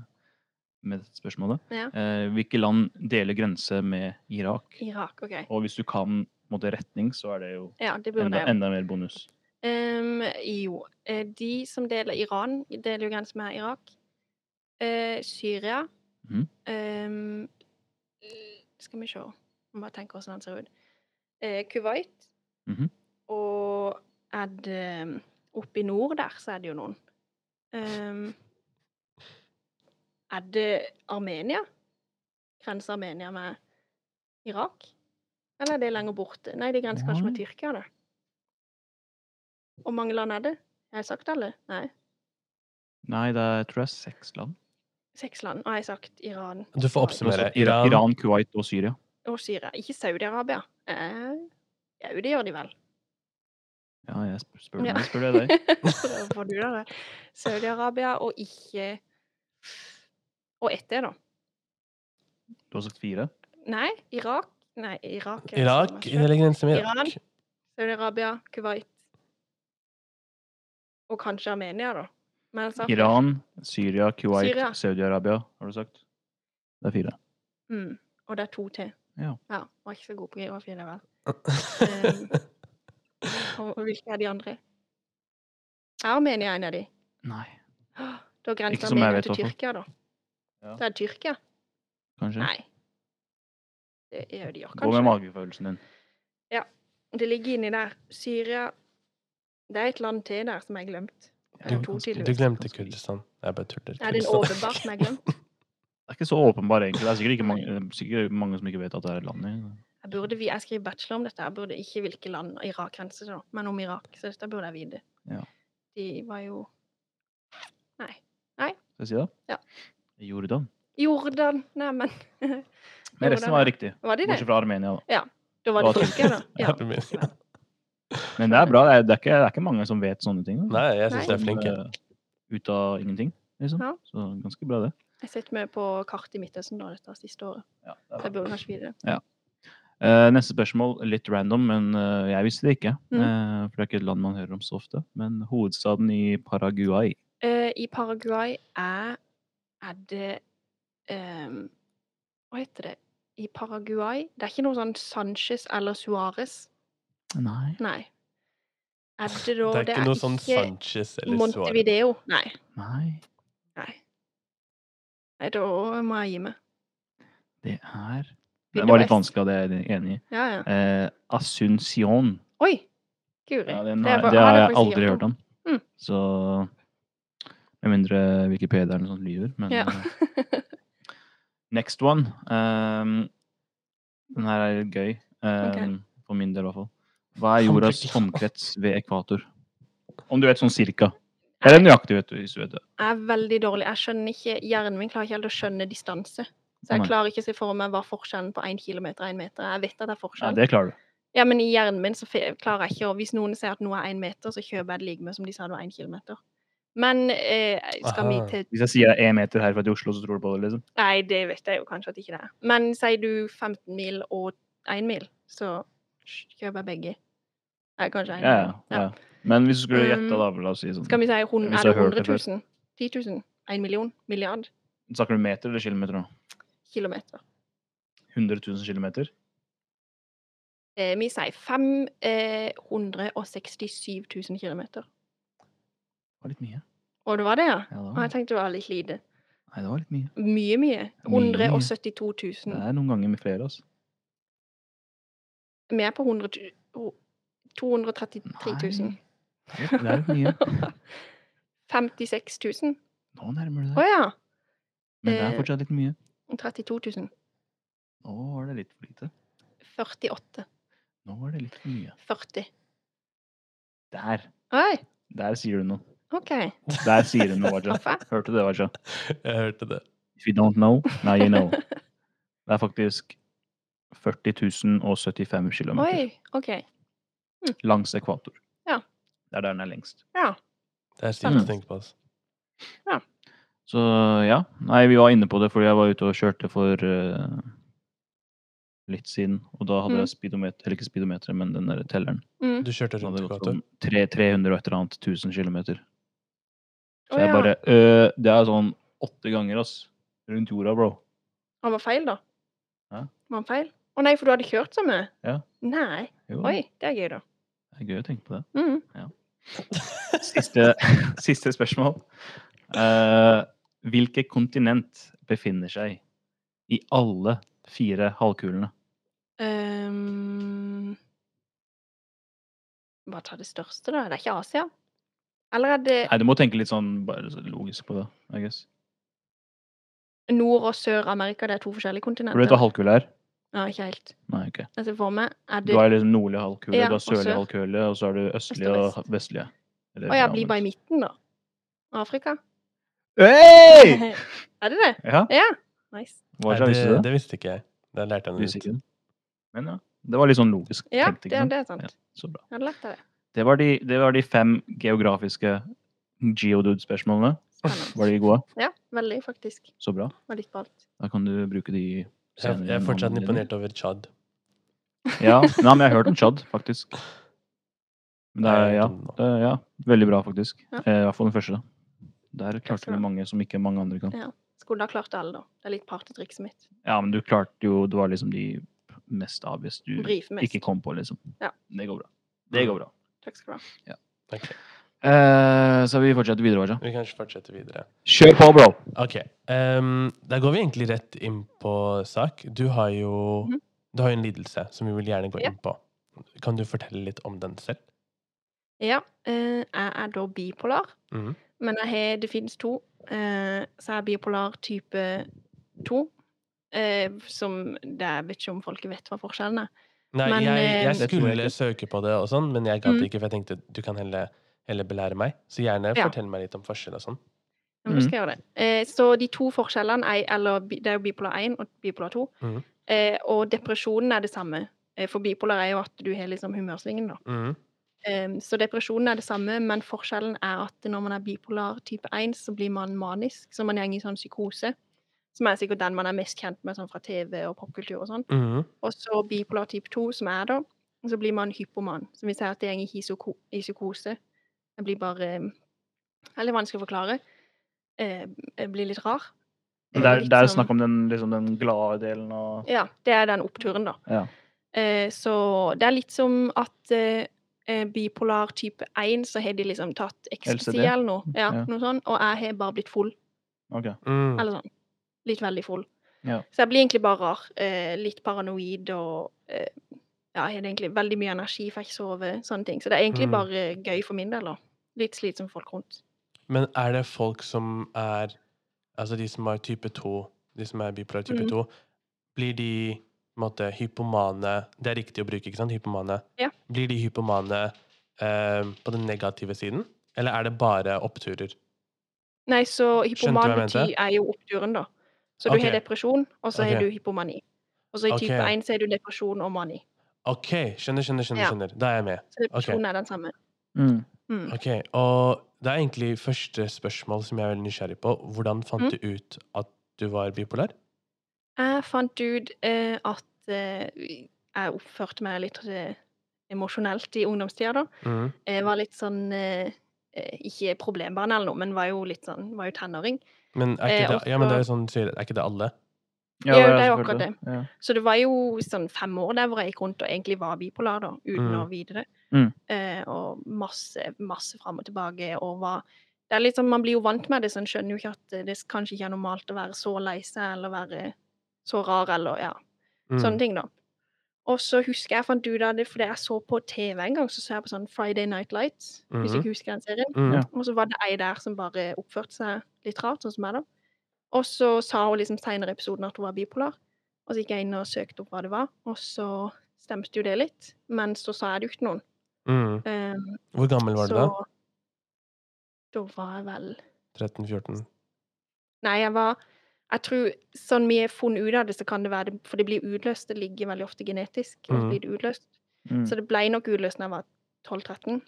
Speaker 2: med dette spørsmålet.
Speaker 3: Ja.
Speaker 2: Eh, hvilke land deler grense med Irak?
Speaker 3: Irak, OK.
Speaker 2: Og hvis du kan på en måte, retning, så er det jo
Speaker 3: Ja, det burde
Speaker 2: enda,
Speaker 3: jeg jo.
Speaker 2: enda mer bonus.
Speaker 3: Ehm, jo. eh, De som deler Iran, deler jo grense med Irak. Eh, Syria.
Speaker 2: Mhm.
Speaker 3: Ehm, eh, skal vi se Må bare tenke hvordan den ser ut. Eh, Kuwait.
Speaker 2: Mhm.
Speaker 3: Og er det eh, Oppe i nord der, så er det jo noen. Ehm, er det Armenia? Grenser Armenia med Irak? Eller er det lenger borte? Nei, det grenser kanskje med
Speaker 2: Nei.
Speaker 3: Tyrkia, det. Hvor mange land er det? Har jeg sagt alle? Nei.
Speaker 2: Nei, det er, jeg tror det er seks land.
Speaker 3: Seks land. Og jeg har sagt Iran
Speaker 1: Du får
Speaker 2: Men også
Speaker 1: oppsummere.
Speaker 2: Iran,
Speaker 1: Iran,
Speaker 2: Iran, Kuwait og Syria.
Speaker 3: og Syria. Ikke Saudi-Arabia. Eh, Jau, det gjør de vel.
Speaker 2: Ja, jeg sp- spør,
Speaker 3: Ja.
Speaker 2: jeg spør jeg deg.
Speaker 3: Så får du det. Saudi-Arabia og ikke Og ett er, da.
Speaker 2: Du har sagt fire.
Speaker 3: Nei, Irak Nei, Irak. er
Speaker 1: Irak
Speaker 3: Saudi-Arabia.
Speaker 1: det ligger grense med
Speaker 3: Iran.
Speaker 1: Irak.
Speaker 3: Saudi-Arabia, Kuwait Og kanskje Armenia, da. Men altså,
Speaker 2: Iran, Syria, Kuwait,
Speaker 3: Syria.
Speaker 2: Saudi-Arabia, har du sagt? Det er fire.
Speaker 3: Mm, og det er to til.
Speaker 2: Ja.
Speaker 3: ja. Var ikke så god på geografi, det vel. Eh,
Speaker 1: Mm.
Speaker 3: Og og hvilke er de andre? Er Armenia en av de?
Speaker 2: Nei,
Speaker 3: Åh, Da
Speaker 2: Ikke
Speaker 3: grenser
Speaker 2: som jeg
Speaker 3: Armenia
Speaker 2: vet,
Speaker 3: til
Speaker 2: hvertfall.
Speaker 3: Tyrkia, da.
Speaker 2: Ja.
Speaker 3: Det er Tyrkia?
Speaker 2: kanskje?
Speaker 3: Nei. Det er de gjør
Speaker 2: Gå med
Speaker 3: kanskje.
Speaker 2: magefølelsen din.
Speaker 3: Det ligger inni der. Syria Det er et land til der som jeg har glemt.
Speaker 1: Du,
Speaker 3: Det er to tydeligvis.
Speaker 1: du glemte Kurdistan. Jeg bare tuller.
Speaker 3: Er det en
Speaker 1: Kurdistan.
Speaker 3: åpenbart som jeg har glemt?
Speaker 2: Det er ikke så åpenbar, egentlig. Det er sikkert, ikke mange, sikkert mange som ikke vet at det er et land i.
Speaker 3: Jeg, burde, vi- jeg skriver bachelor om dette. Jeg burde ikke hvilke land Irak grenser til, da, men om Irak. Så dette burde jeg vite.
Speaker 2: Ja.
Speaker 3: De var jo Nei.
Speaker 2: Skal jeg si det?
Speaker 3: Ja.
Speaker 2: Jordan.
Speaker 3: Jordan! Neimen
Speaker 2: Men resten var riktig.
Speaker 3: Var de det?
Speaker 2: Bortsett fra Armenia, da.
Speaker 3: Da var det
Speaker 2: Hva-
Speaker 3: Tyrkia, da. Ja.
Speaker 1: Er det min-
Speaker 2: Men det er bra. Det er, det er, ikke, det er ikke mange som vet sånne ting. da.
Speaker 1: Nei, jeg syns
Speaker 3: Nei.
Speaker 1: det er flink. jeg.
Speaker 2: Som, eh, Ut av ingenting, liksom.
Speaker 3: Ja.
Speaker 2: Så ganske bra, det.
Speaker 3: Jeg har sett mye på kart i Midtøsten da, dette siste året.
Speaker 2: Ja,
Speaker 3: Så jeg burde kanskje vite det.
Speaker 2: Eh, neste spørsmål, litt random, men eh, jeg visste det ikke.
Speaker 3: Mm.
Speaker 2: Eh, for det er ikke et land man hører om så ofte. Men hovedstaden i Paraguay.
Speaker 3: Eh, I Paraguay er Er det ehm, Hva heter det? I Paraguay Det er ikke noe sånn Sanchez eller Suárez.
Speaker 2: Nei.
Speaker 3: Nei. Er det da
Speaker 1: Det er ikke noe sånn
Speaker 3: ikke
Speaker 1: Sanchez eller Suárez.
Speaker 3: Montevideo. Nei.
Speaker 2: Nei.
Speaker 3: Nei. Nei, da må jeg gi meg.
Speaker 2: Det er Det
Speaker 3: Begynner
Speaker 2: var
Speaker 3: på
Speaker 2: litt
Speaker 3: S.
Speaker 2: vanskelig, det er jeg enig i.
Speaker 3: Ja, ja.
Speaker 2: Eh, Asuncion.
Speaker 3: Oi! Guri.
Speaker 2: Ja, den
Speaker 3: Det
Speaker 2: har,
Speaker 3: var-
Speaker 2: det
Speaker 3: har
Speaker 2: har
Speaker 3: jeg
Speaker 2: jeg
Speaker 3: faktisk
Speaker 2: aldri
Speaker 3: hørt
Speaker 2: hørt om.
Speaker 3: Mm.
Speaker 2: Så Med mindre Wikipedia eller noe sånt lyver, men
Speaker 3: Ja.
Speaker 2: eh, Next one. Um, den her er litt gøy. Um, For min del, i hvert fall. Hva er jordas omkrets ved ekvator? Om du vet sånn cirka. Eller nøyaktig, vet du, hvis du vet det.
Speaker 3: Jeg er veldig dårlig. Jeg skjønner ikke, Hjernen min klarer ikke helt å skjønne distanse. Så jeg
Speaker 2: Nei.
Speaker 3: klarer ikke å se for meg hva forskjellen på 1 km og 1 meter er. Jeg vet at det er
Speaker 2: Ja,
Speaker 3: forskjell.
Speaker 2: det klarer du.
Speaker 3: Ja, men i hjernen min så fe- klarer jeg ikke å Hvis noen sier at noe er én meter, så kjøper jeg det like mye som de sa det var én kilometer. Men eh, skal vi
Speaker 1: Aha.
Speaker 3: til
Speaker 2: Hvis jeg sier det er én meter herfra til Oslo, så tror du på det, liksom?
Speaker 3: Nei, det vet jeg jo kanskje at ikke det er. Men sier du 15 mil og 1 mil, så kjøper jeg begge. Nei, kanskje 1
Speaker 2: Ja, ja. ja. Men hvis du skulle gjette,
Speaker 3: Um,
Speaker 2: da, la oss si sånn
Speaker 3: Skal vi si hun,
Speaker 2: Hvis
Speaker 3: er
Speaker 2: jeg
Speaker 3: det
Speaker 2: har hørt det
Speaker 3: 100
Speaker 2: før.
Speaker 3: 000? 10 000? 1 million? Milliard?
Speaker 2: Snakker du meter eller kilometer nå?
Speaker 3: Kilometer?
Speaker 2: 100 000 kilometer?
Speaker 3: Eh, vi sier eh, 567 000 kilometer.
Speaker 2: Det var litt mye.
Speaker 3: Og det var det, ja?
Speaker 2: Ja, det
Speaker 3: Og
Speaker 2: var,
Speaker 3: jeg tenkte det var litt lite.
Speaker 2: nei, det var litt mye.
Speaker 3: Mye, mye.
Speaker 2: Mye, mye.
Speaker 3: 172 000.
Speaker 2: Det er noen ganger med flere, altså.
Speaker 3: Vi er på 100, tu- ho- 233 000.
Speaker 2: Nei. Det er- Det er litt mye.
Speaker 3: 56 000?
Speaker 2: Nå nærmer du
Speaker 3: Å
Speaker 2: deg.
Speaker 3: ja!
Speaker 2: Men det er
Speaker 3: eh,
Speaker 2: fortsatt litt mye.
Speaker 3: 32 000.
Speaker 2: Nå var det litt for lite.
Speaker 3: 48.
Speaker 2: Nå var det litt for mye.
Speaker 3: 40.
Speaker 2: Der.
Speaker 3: Oi!
Speaker 2: Der sier du noe.
Speaker 3: OK.
Speaker 2: Der sier du noe, Waja.
Speaker 3: Hva?
Speaker 2: Hørte du det, Waja?
Speaker 1: Jeg hørte det.
Speaker 2: If you don't know, now you know. Det er faktisk 40 075 km
Speaker 3: Oi. OK.
Speaker 2: langs ekvator.
Speaker 3: Ja.
Speaker 2: Det er der den er lengst.
Speaker 3: Ja.
Speaker 1: Det er sykt å tenke på. Altså.
Speaker 2: Så ja. Nei, vi var inne på det fordi jeg var ute og kjørte for eh, litt siden. Og da hadde
Speaker 3: Mm.
Speaker 2: jeg speedometer, eller ikke speedometer, men den der telleren.
Speaker 3: Mm.
Speaker 1: Du kjørte
Speaker 2: Den
Speaker 1: rundt
Speaker 2: hadde gått
Speaker 1: ekvator.
Speaker 2: om tre- 300 og et eller annet 1000 km. Så
Speaker 3: Å
Speaker 2: jeg
Speaker 3: ja.
Speaker 2: bare øh, Det er sånn åtte ganger, ass. Rundt jorda, bro.
Speaker 3: Han var feil, da?
Speaker 2: Hæ?
Speaker 3: Var han feil? Å nei, for du hadde kjørt så mye?
Speaker 2: Ja.
Speaker 3: Nei.
Speaker 2: Jo,
Speaker 3: Oi, det er gøy, da.
Speaker 2: Det er gøy å tenke på det.
Speaker 3: Mm.
Speaker 2: Siste, siste spørsmål. Eh, hvilke kontinent befinner seg i alle fire halvkulene?
Speaker 3: Ehm, Bare ta det største, da. Det er ikke Asia? Eller er det
Speaker 2: Nei, du må tenke litt sånn bare så logisk på det. I guess.
Speaker 3: Nord- og Sør-Amerika? Det er to forskjellige
Speaker 2: For du vet hva
Speaker 3: kontinenter?
Speaker 2: halvkule er?
Speaker 3: Ja, ikke helt.
Speaker 2: Nei, ok.
Speaker 3: Jeg ser for meg Er
Speaker 2: Du
Speaker 3: det Å
Speaker 2: har liksom nordlig halvkule,
Speaker 3: Ja,
Speaker 2: du har
Speaker 3: og
Speaker 2: sørlig
Speaker 3: sør.
Speaker 2: halvkule, og så har du
Speaker 3: Øst
Speaker 2: østlig
Speaker 3: og
Speaker 2: og
Speaker 3: vest.
Speaker 2: vestlig.
Speaker 3: ja, blir bare i midten, da? Afrika?
Speaker 2: Hey!
Speaker 3: er det det?
Speaker 2: Ja,
Speaker 3: Ja. Nice.
Speaker 2: hva
Speaker 1: Nei,
Speaker 2: sa
Speaker 1: det,
Speaker 2: visste du det?
Speaker 1: det visste ikke jeg. Det lærte jeg
Speaker 2: Du visste
Speaker 1: nå.
Speaker 2: ikke det? Men ja, det var litt sånn logisk
Speaker 3: Ja,
Speaker 2: tenkt,
Speaker 3: det,
Speaker 2: ikke sånn. sant?
Speaker 3: det er sant.
Speaker 2: Så bra.
Speaker 3: Jeg hadde lett av det.
Speaker 2: Det var de, det var de fem geografiske geodude-spørsmålene.
Speaker 3: Spennende.
Speaker 2: Var de gode?
Speaker 3: Ja, veldig, faktisk.
Speaker 2: Så bra.
Speaker 3: Var litt på alt.
Speaker 2: Da kan du bruke de
Speaker 1: Jeg,
Speaker 2: senere.
Speaker 1: jeg er
Speaker 2: i
Speaker 1: fortsatt
Speaker 2: måneden din.
Speaker 1: imponert over Tsjad.
Speaker 2: Ja, Nei, men jeg har hørt om Tsjad, faktisk. Men det er, ja, det er, ja, veldig bra, faktisk.
Speaker 3: Ja.
Speaker 2: Eh, I hvert fall den første. Der klarte
Speaker 3: så
Speaker 2: vi
Speaker 3: bra.
Speaker 2: mange som ikke mange andre kan.
Speaker 3: Ja. Skulle ha klart alle, da. Det er litt partytrikset mitt.
Speaker 2: Ja, men du klarte jo Det var liksom de mest obvious du
Speaker 3: Brife mest.
Speaker 2: Mm, ikke kom på, liksom.
Speaker 3: Ja.
Speaker 2: Det går bra. Det går bra.
Speaker 3: Takk skal du ha.
Speaker 1: Ok,
Speaker 2: Eh, så vi fortsetter videre, Raja.
Speaker 1: Vi kan ikke fortsette videre.
Speaker 2: Kjør på, bro!
Speaker 1: Ok. ehm, da går vi egentlig rett inn på sak. Du har jo
Speaker 3: Mhm.
Speaker 1: du har jo en lidelse som vi vil gjerne gå
Speaker 3: Ja.
Speaker 1: inn på. Kan du fortelle litt om den selv?
Speaker 3: Ja, eh, jeg er da bipolar.
Speaker 1: Mhm.
Speaker 3: Men jeg har, det finnes to. Eh, så jeg er bipolar type 2. Eh, som det, Jeg vet ikke om folk vet hva forskjellen er.
Speaker 1: Nei, jeg,
Speaker 3: Men,
Speaker 1: jeg
Speaker 2: eh, Det tror jeg
Speaker 1: skulle søke på det og sånn, men jeg gadd
Speaker 3: Mhm.
Speaker 1: ikke, for jeg tenkte du kan heller, heller belære meg. Så gjerne
Speaker 3: Ja.
Speaker 1: fortell meg litt om forskjell og sånn.
Speaker 3: Men
Speaker 2: Mm.
Speaker 3: nå skal jeg gjøre det. Eh, så de to forskjellene er, eller, bi- Det er jo bipolar 1 og bipolar 2.
Speaker 1: Mhm.
Speaker 3: Eh, og depresjonen er det samme. Eh, for bipolar er jo at du har liksom humørsvingen, da.
Speaker 1: Mhm.
Speaker 3: Em, Så depresjonen er det samme, men forskjellen er at når man er bipolar type 1, så blir man manisk, så man går i sånn psykose. Som er sikkert den man er mest kjent med sånn fra TV og popkultur og sånn.
Speaker 1: Mhm.
Speaker 3: Og så bipolar type 2, som er da, og så blir man hypoman. Som vil si at det går i psyko- i psykose. Det blir bare em, Det er litt vanskelig å forklare. Eh, Det blir litt rar.
Speaker 2: Det er, det er
Speaker 3: Litt sånn-
Speaker 2: snakk om den, liksom, den glade delen og
Speaker 3: ja, det er den oppturen, da.
Speaker 2: Ja.
Speaker 3: Eh, så det er litt som at eh, eh, bipolar type 1, så har de liksom tatt ecstasy
Speaker 2: LCD?
Speaker 3: eller noe, ja,
Speaker 2: Ja.
Speaker 3: noe sånt, og jeg har bare blitt full.
Speaker 2: OK.
Speaker 1: Mhm.
Speaker 3: Eller sånn. Litt veldig full.
Speaker 2: Ja.
Speaker 3: Så jeg blir egentlig bare rar. Eh, litt paranoid og eh, Ja, jeg har egentlig veldig mye energi, får ikke sove, sånne ting. Så det er egentlig
Speaker 1: Mm.
Speaker 3: bare gøy for min del, da. Litt slitsomt for folk rundt.
Speaker 1: Men er det folk som er Altså de som har type 2, de som er bipolar type
Speaker 3: Mhm.
Speaker 1: 2, blir de på en måte hypomane Det er riktig å bruke, ikke sant? Hypomane.
Speaker 3: Ja.
Speaker 1: Blir de hypomane eh, på den negative siden? Eller er det bare oppturer?
Speaker 3: Nei, så
Speaker 1: Skjønte hva
Speaker 3: hypoman
Speaker 1: jeg mente?
Speaker 3: betyr er jo oppturen, da. Så du
Speaker 1: Ok.
Speaker 3: har depresjon, og så
Speaker 1: Ok.
Speaker 3: har du hypomani. Og så i type
Speaker 1: Ok.
Speaker 3: 1 så har du depresjon og mani.
Speaker 1: OK, skjønner, skjønner, skjønner.
Speaker 3: Ja.
Speaker 1: skjønner. Da er jeg med.
Speaker 3: Så depresjon er den samme.
Speaker 2: Mm.
Speaker 3: Mm.
Speaker 1: Ok, Og det er egentlig første spørsmål som jeg er veldig nysgjerrig på. Hvordan fant
Speaker 3: Mhm.
Speaker 1: du ut at du var bipolar?
Speaker 3: Jeg fant ut eh, at eh, jeg oppførte meg litt eh, emosjonelt i ungdomstida, da.
Speaker 1: Mhm.
Speaker 3: Jeg var litt sånn eh, eh, Ikke problembarn eller noe, men var jo litt sånn, var jo tenåring.
Speaker 1: Men er
Speaker 3: Eh,
Speaker 1: ikke,
Speaker 3: og
Speaker 1: det, ja, men det er jo
Speaker 3: så-
Speaker 1: sånn, du sier, er ikke det alle?
Speaker 3: Ja, det er jo
Speaker 2: selvfølgelig
Speaker 3: akkurat
Speaker 2: Ja.
Speaker 3: Så det var jo sånn fem år der hvor jeg gikk rundt og egentlig var bipolar, da, uten
Speaker 1: Mm.
Speaker 3: å vite det.
Speaker 2: Mm.
Speaker 3: Eh, og masse, masse fram og tilbake. Og var det er litt sånn, Man blir jo vant med det, så en skjønner jo ikke at det kanskje ikke er normalt å være så lei seg eller være så rar eller ja,
Speaker 1: Mhm.
Speaker 3: sånne ting, da. Og så husker jeg fant ut av det fordi jeg så på TV en gang, så så jeg på sånn Friday Night Lights, hvis
Speaker 1: Mhm.
Speaker 3: jeg husker den serien.
Speaker 1: Mhm.
Speaker 2: Ja.
Speaker 3: Og så var det ei der som bare oppførte seg litt rart, sånn som meg, da. Og så sa hun liksom seinere i episoden at hun var bipolar. Og så gikk jeg inn og søkte opp hva det var, og så stemte jo det litt. Men så sa jeg det jo ikke til noen.
Speaker 1: Mhm.
Speaker 3: Um,
Speaker 1: Hvor gammel var du da?
Speaker 3: så Da var jeg vel
Speaker 1: 13-14?
Speaker 3: Nei, jeg var Jeg tror sånn vi har funnet ut av det, så kan det være det For det blir utløst. Det ligger veldig ofte genetisk. Og så
Speaker 1: Mhm.
Speaker 3: blir det utløst.
Speaker 2: Mm.
Speaker 3: Så det ble nok utløst da jeg var 12-13.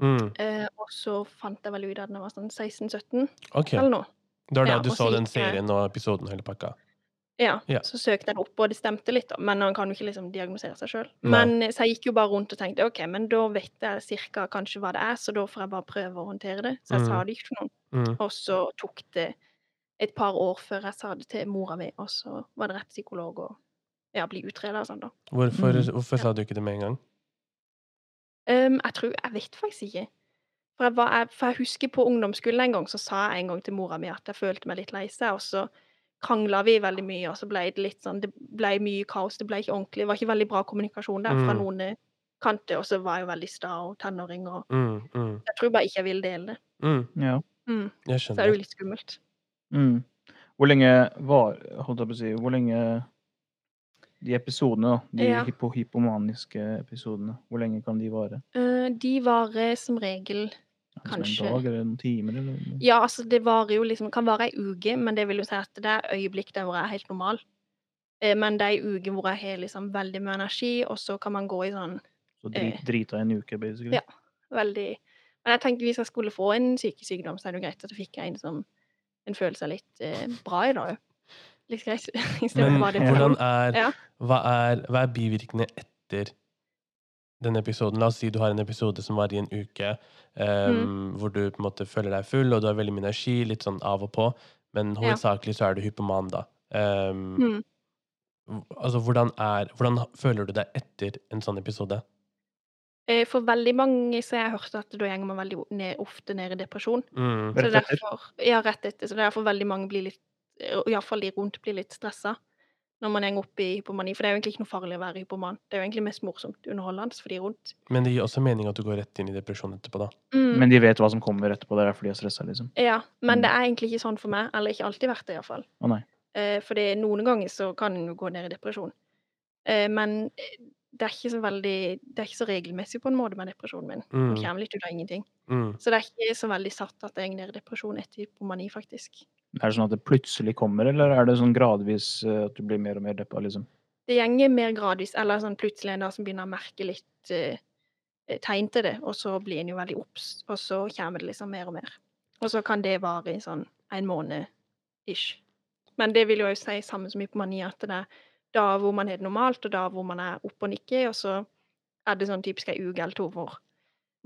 Speaker 1: Mm.
Speaker 3: Eh, og så fant jeg vel ut av det da jeg var sånn 16-17
Speaker 1: Ok.
Speaker 3: eller noe.
Speaker 1: Det var da
Speaker 3: Ja,
Speaker 1: du
Speaker 3: og
Speaker 1: så
Speaker 3: så
Speaker 1: den
Speaker 3: gikk jeg-
Speaker 1: serien og episoden og hele pakka.
Speaker 3: Ja,
Speaker 1: Ja.
Speaker 3: så søkte jeg det opp, og det stemte litt, da. Men han kan jo ikke liksom diagnosere seg sjøl.
Speaker 1: Nei.
Speaker 3: Men eh, Så jeg gikk jo bare rundt og tenkte OK, men da vet jeg cirka kanskje hva det er, så da får jeg bare prøve å håndtere det. Så jeg
Speaker 1: Mm.
Speaker 3: sa det ikke til noen.
Speaker 1: Mm.
Speaker 3: Og så tok det et par år før jeg sa det til mora mi, og så var det rett psykolog og ja, bli utreda og sånn, da.
Speaker 1: Hvorfor,
Speaker 2: Mm.
Speaker 1: hvorfor sa du ikke det med en gang?
Speaker 3: Ehm, jeg tror Jeg vet faktisk ikke. For jeg, var, jeg, for jeg husker på ungdomsskolen en gang, så sa jeg en gang til mora mi at jeg følte meg litt lei seg, og så krangla vi veldig mye, og så ble det litt sånn Det ble mye kaos, det ble ikke ordentlig. Det var ikke veldig bra kommunikasjon der fra
Speaker 1: Mm.
Speaker 3: noen eh, kanter, og så var jeg jo veldig sta og tenåring, og
Speaker 1: Mm, mm,
Speaker 3: jeg tror bare ikke jeg ville dele det.
Speaker 1: mm.
Speaker 2: ja.
Speaker 3: Mm.
Speaker 1: Jeg
Speaker 3: Så er
Speaker 1: skjønner.
Speaker 3: det jo litt skummelt.
Speaker 2: Mm. Hvor lenge var Holdt jeg på å si Hvor lenge De episodene, da. De
Speaker 3: Ja.
Speaker 2: hypo, hypomaniske episodene. Hvor lenge kan de vare?
Speaker 3: Eh, de varer som regel
Speaker 2: Er det
Speaker 3: Kanskje.
Speaker 2: Som en dag eller noen timer? Eller?
Speaker 3: Ja, altså, det varer jo liksom Kan vare ei uke, men det vil jo si at det er øyeblikk der hvor jeg er helt normal. Eh, Men det er ei uke hvor jeg har liksom veldig mye energi, og så kan man gå i sånn
Speaker 2: Så drit, drita i en uke, basically.
Speaker 3: Ja. veldig Men jeg tenkte hvis jeg skulle få en sykesykdom, så er det jo greit at jeg fikk en som en føler seg litt eh, bra i dag. Litt greit. I stedet
Speaker 1: Men
Speaker 3: for bare
Speaker 1: hvordan
Speaker 3: depresjon.
Speaker 1: er
Speaker 3: Ja.
Speaker 1: Hva er, hva er bivirkningene etter den episoden, La oss si du har en episode som varer i en uke, ehm,
Speaker 3: Mhm.
Speaker 1: hvor du på en måte føler deg full, og du har veldig mye energi, litt sånn av og på, men
Speaker 3: Ja.
Speaker 1: hovedsakelig så er du hypoman, da. Ehm,
Speaker 3: Mm.
Speaker 1: hv- Altså, hvordan, er, hvordan føler du deg etter en sånn episode?
Speaker 3: Eh, For veldig mange så har jeg hørt at da går man veldig o- ned, ofte ned i depresjon.
Speaker 1: Mm.
Speaker 3: Så
Speaker 2: Rett
Speaker 3: det er
Speaker 2: etter.
Speaker 3: derfor, ja, rett etter. Så det er derfor veldig mange blir litt, iallfall de rundt, blir litt stressa når man går opp i hypomani. For det er jo egentlig ikke noe farlig å være hypoman. Det er jo egentlig mest morsomt underholdende for de rundt.
Speaker 1: Men det gir også mening at du går rett inn i depresjon etterpå, da.
Speaker 3: Mm.
Speaker 2: Men de vet hva som kommer etterpå. Det er derfor de er stressa, liksom.
Speaker 3: ja, men
Speaker 2: Mm.
Speaker 3: det er egentlig ikke sånn for meg. Eller ikke alltid vært det, iallfall.
Speaker 2: Å nei.
Speaker 3: Eh, for det, noen ganger så kan en jo gå ned i depresjon. Eh, men eh, det er ikke så veldig Det er ikke så regelmessig på en måte med depresjonen min. Den
Speaker 1: Mm.
Speaker 3: kommer litt ut av ingenting.
Speaker 1: Mm.
Speaker 3: Så det er ikke så veldig satt at jeg går ned i depresjon etter hypomani, faktisk.
Speaker 2: Er det sånn at det plutselig kommer, eller er det sånn gradvis eh, at du blir mer og mer deppa, liksom?
Speaker 3: det gjenger mer gradvis, eller sånn plutselig en dag som begynner å merke litt eh, tegn til det, og så blir en jo veldig obs, og så kommer det liksom mer og mer. Og så kan det vare i sånn en måned ish. Men det vil jo også si samme som hypomani, at det er da hvor man har det normalt, og da hvor man er oppe og nikker, og så er det sånn typisk ei uke eller to hvor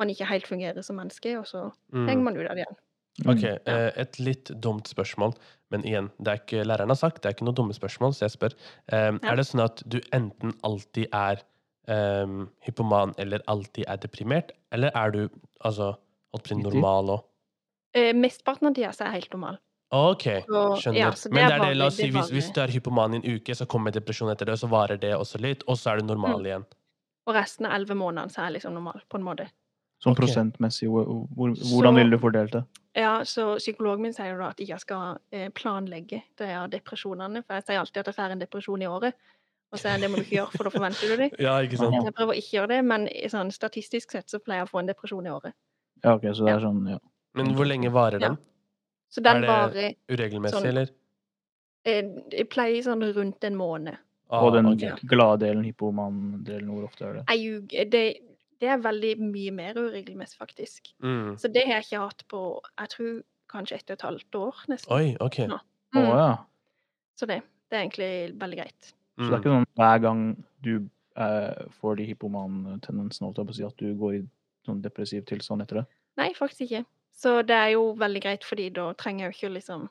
Speaker 3: man ikke helt fungerer som menneske, og så henger
Speaker 1: Mm.
Speaker 3: man ut av det igjen.
Speaker 1: Ok, eh, et litt dumt spørsmål, men igjen, det er ikke læreren har sagt, det er ikke noe dumme spørsmål, så jeg spør. Ehm,
Speaker 3: Ja.
Speaker 1: Er det sånn at du enten alltid er ehm, hypoman eller alltid er deprimert, eller er du altså holdt på å si
Speaker 2: Midt i.
Speaker 1: normal òg?
Speaker 3: Eh, mesteparten av tida så er jeg helt normal.
Speaker 1: OK,
Speaker 3: Så,
Speaker 1: skjønner.
Speaker 3: ja, så det
Speaker 1: men
Speaker 3: er
Speaker 1: det er det, la oss
Speaker 3: vanlig,
Speaker 1: si,
Speaker 3: det er
Speaker 1: hvis, hvis
Speaker 3: vanlig.
Speaker 1: du er hypoman i en uke, så kommer depresjon etter det, og så varer det også litt, og så er du normal
Speaker 3: Mm.
Speaker 1: igjen.
Speaker 3: Og resten av elleve månedene så er jeg liksom normal, på en måte.
Speaker 2: Sånn
Speaker 1: ok.
Speaker 2: prosentmessig, hvor, hvor,
Speaker 3: Så-
Speaker 2: hvordan ville du fordelt det?
Speaker 3: Ja, så psykologen min sier jo da at jeg skal eh, planlegge det av depresjonene. For jeg sier alltid at jeg får en depresjon i året. Og så sier han det må du ikke gjøre, for da forventer du det.
Speaker 1: Ja, ikke sant?
Speaker 2: Ja.
Speaker 3: Så jeg prøver å ikke gjøre det, men i sånn, statistisk sett så pleier jeg å få en depresjon i året.
Speaker 2: Ja, ok, så det er sånn, ja.
Speaker 1: Men hvor lenge varer
Speaker 3: Ja.
Speaker 1: den?
Speaker 3: Så
Speaker 1: Er
Speaker 3: den
Speaker 1: det-
Speaker 3: varer
Speaker 1: Uregelmessig,
Speaker 3: Sånn.
Speaker 1: eller?
Speaker 3: eh, Jeg pleier sånn rundt en måned.
Speaker 1: Ah,
Speaker 2: Og den
Speaker 1: ok.
Speaker 3: Ja.
Speaker 2: glade delen, hypoman-delen, hvor ofte er det?
Speaker 3: Jeg ljuger. Det, det er veldig mye mer uregelmessig, faktisk.
Speaker 1: mm.
Speaker 3: Så det har jeg ikke hatt på jeg tror kanskje ett og et halvt år, nesten.
Speaker 1: Oi, OK.
Speaker 3: Nå.
Speaker 2: Å
Speaker 3: Mm.
Speaker 2: ja.
Speaker 3: Så det, det er egentlig veldig greit.
Speaker 2: Så det er
Speaker 1: Mm.
Speaker 2: ikke sånn hver gang du eh, får de hypoman-tendensene, holdt jeg på å si, at du går i sånn depressiv tilstand etter det?
Speaker 3: Nei, faktisk ikke. Så det er jo veldig greit, fordi da trenger jeg jo ikke å liksom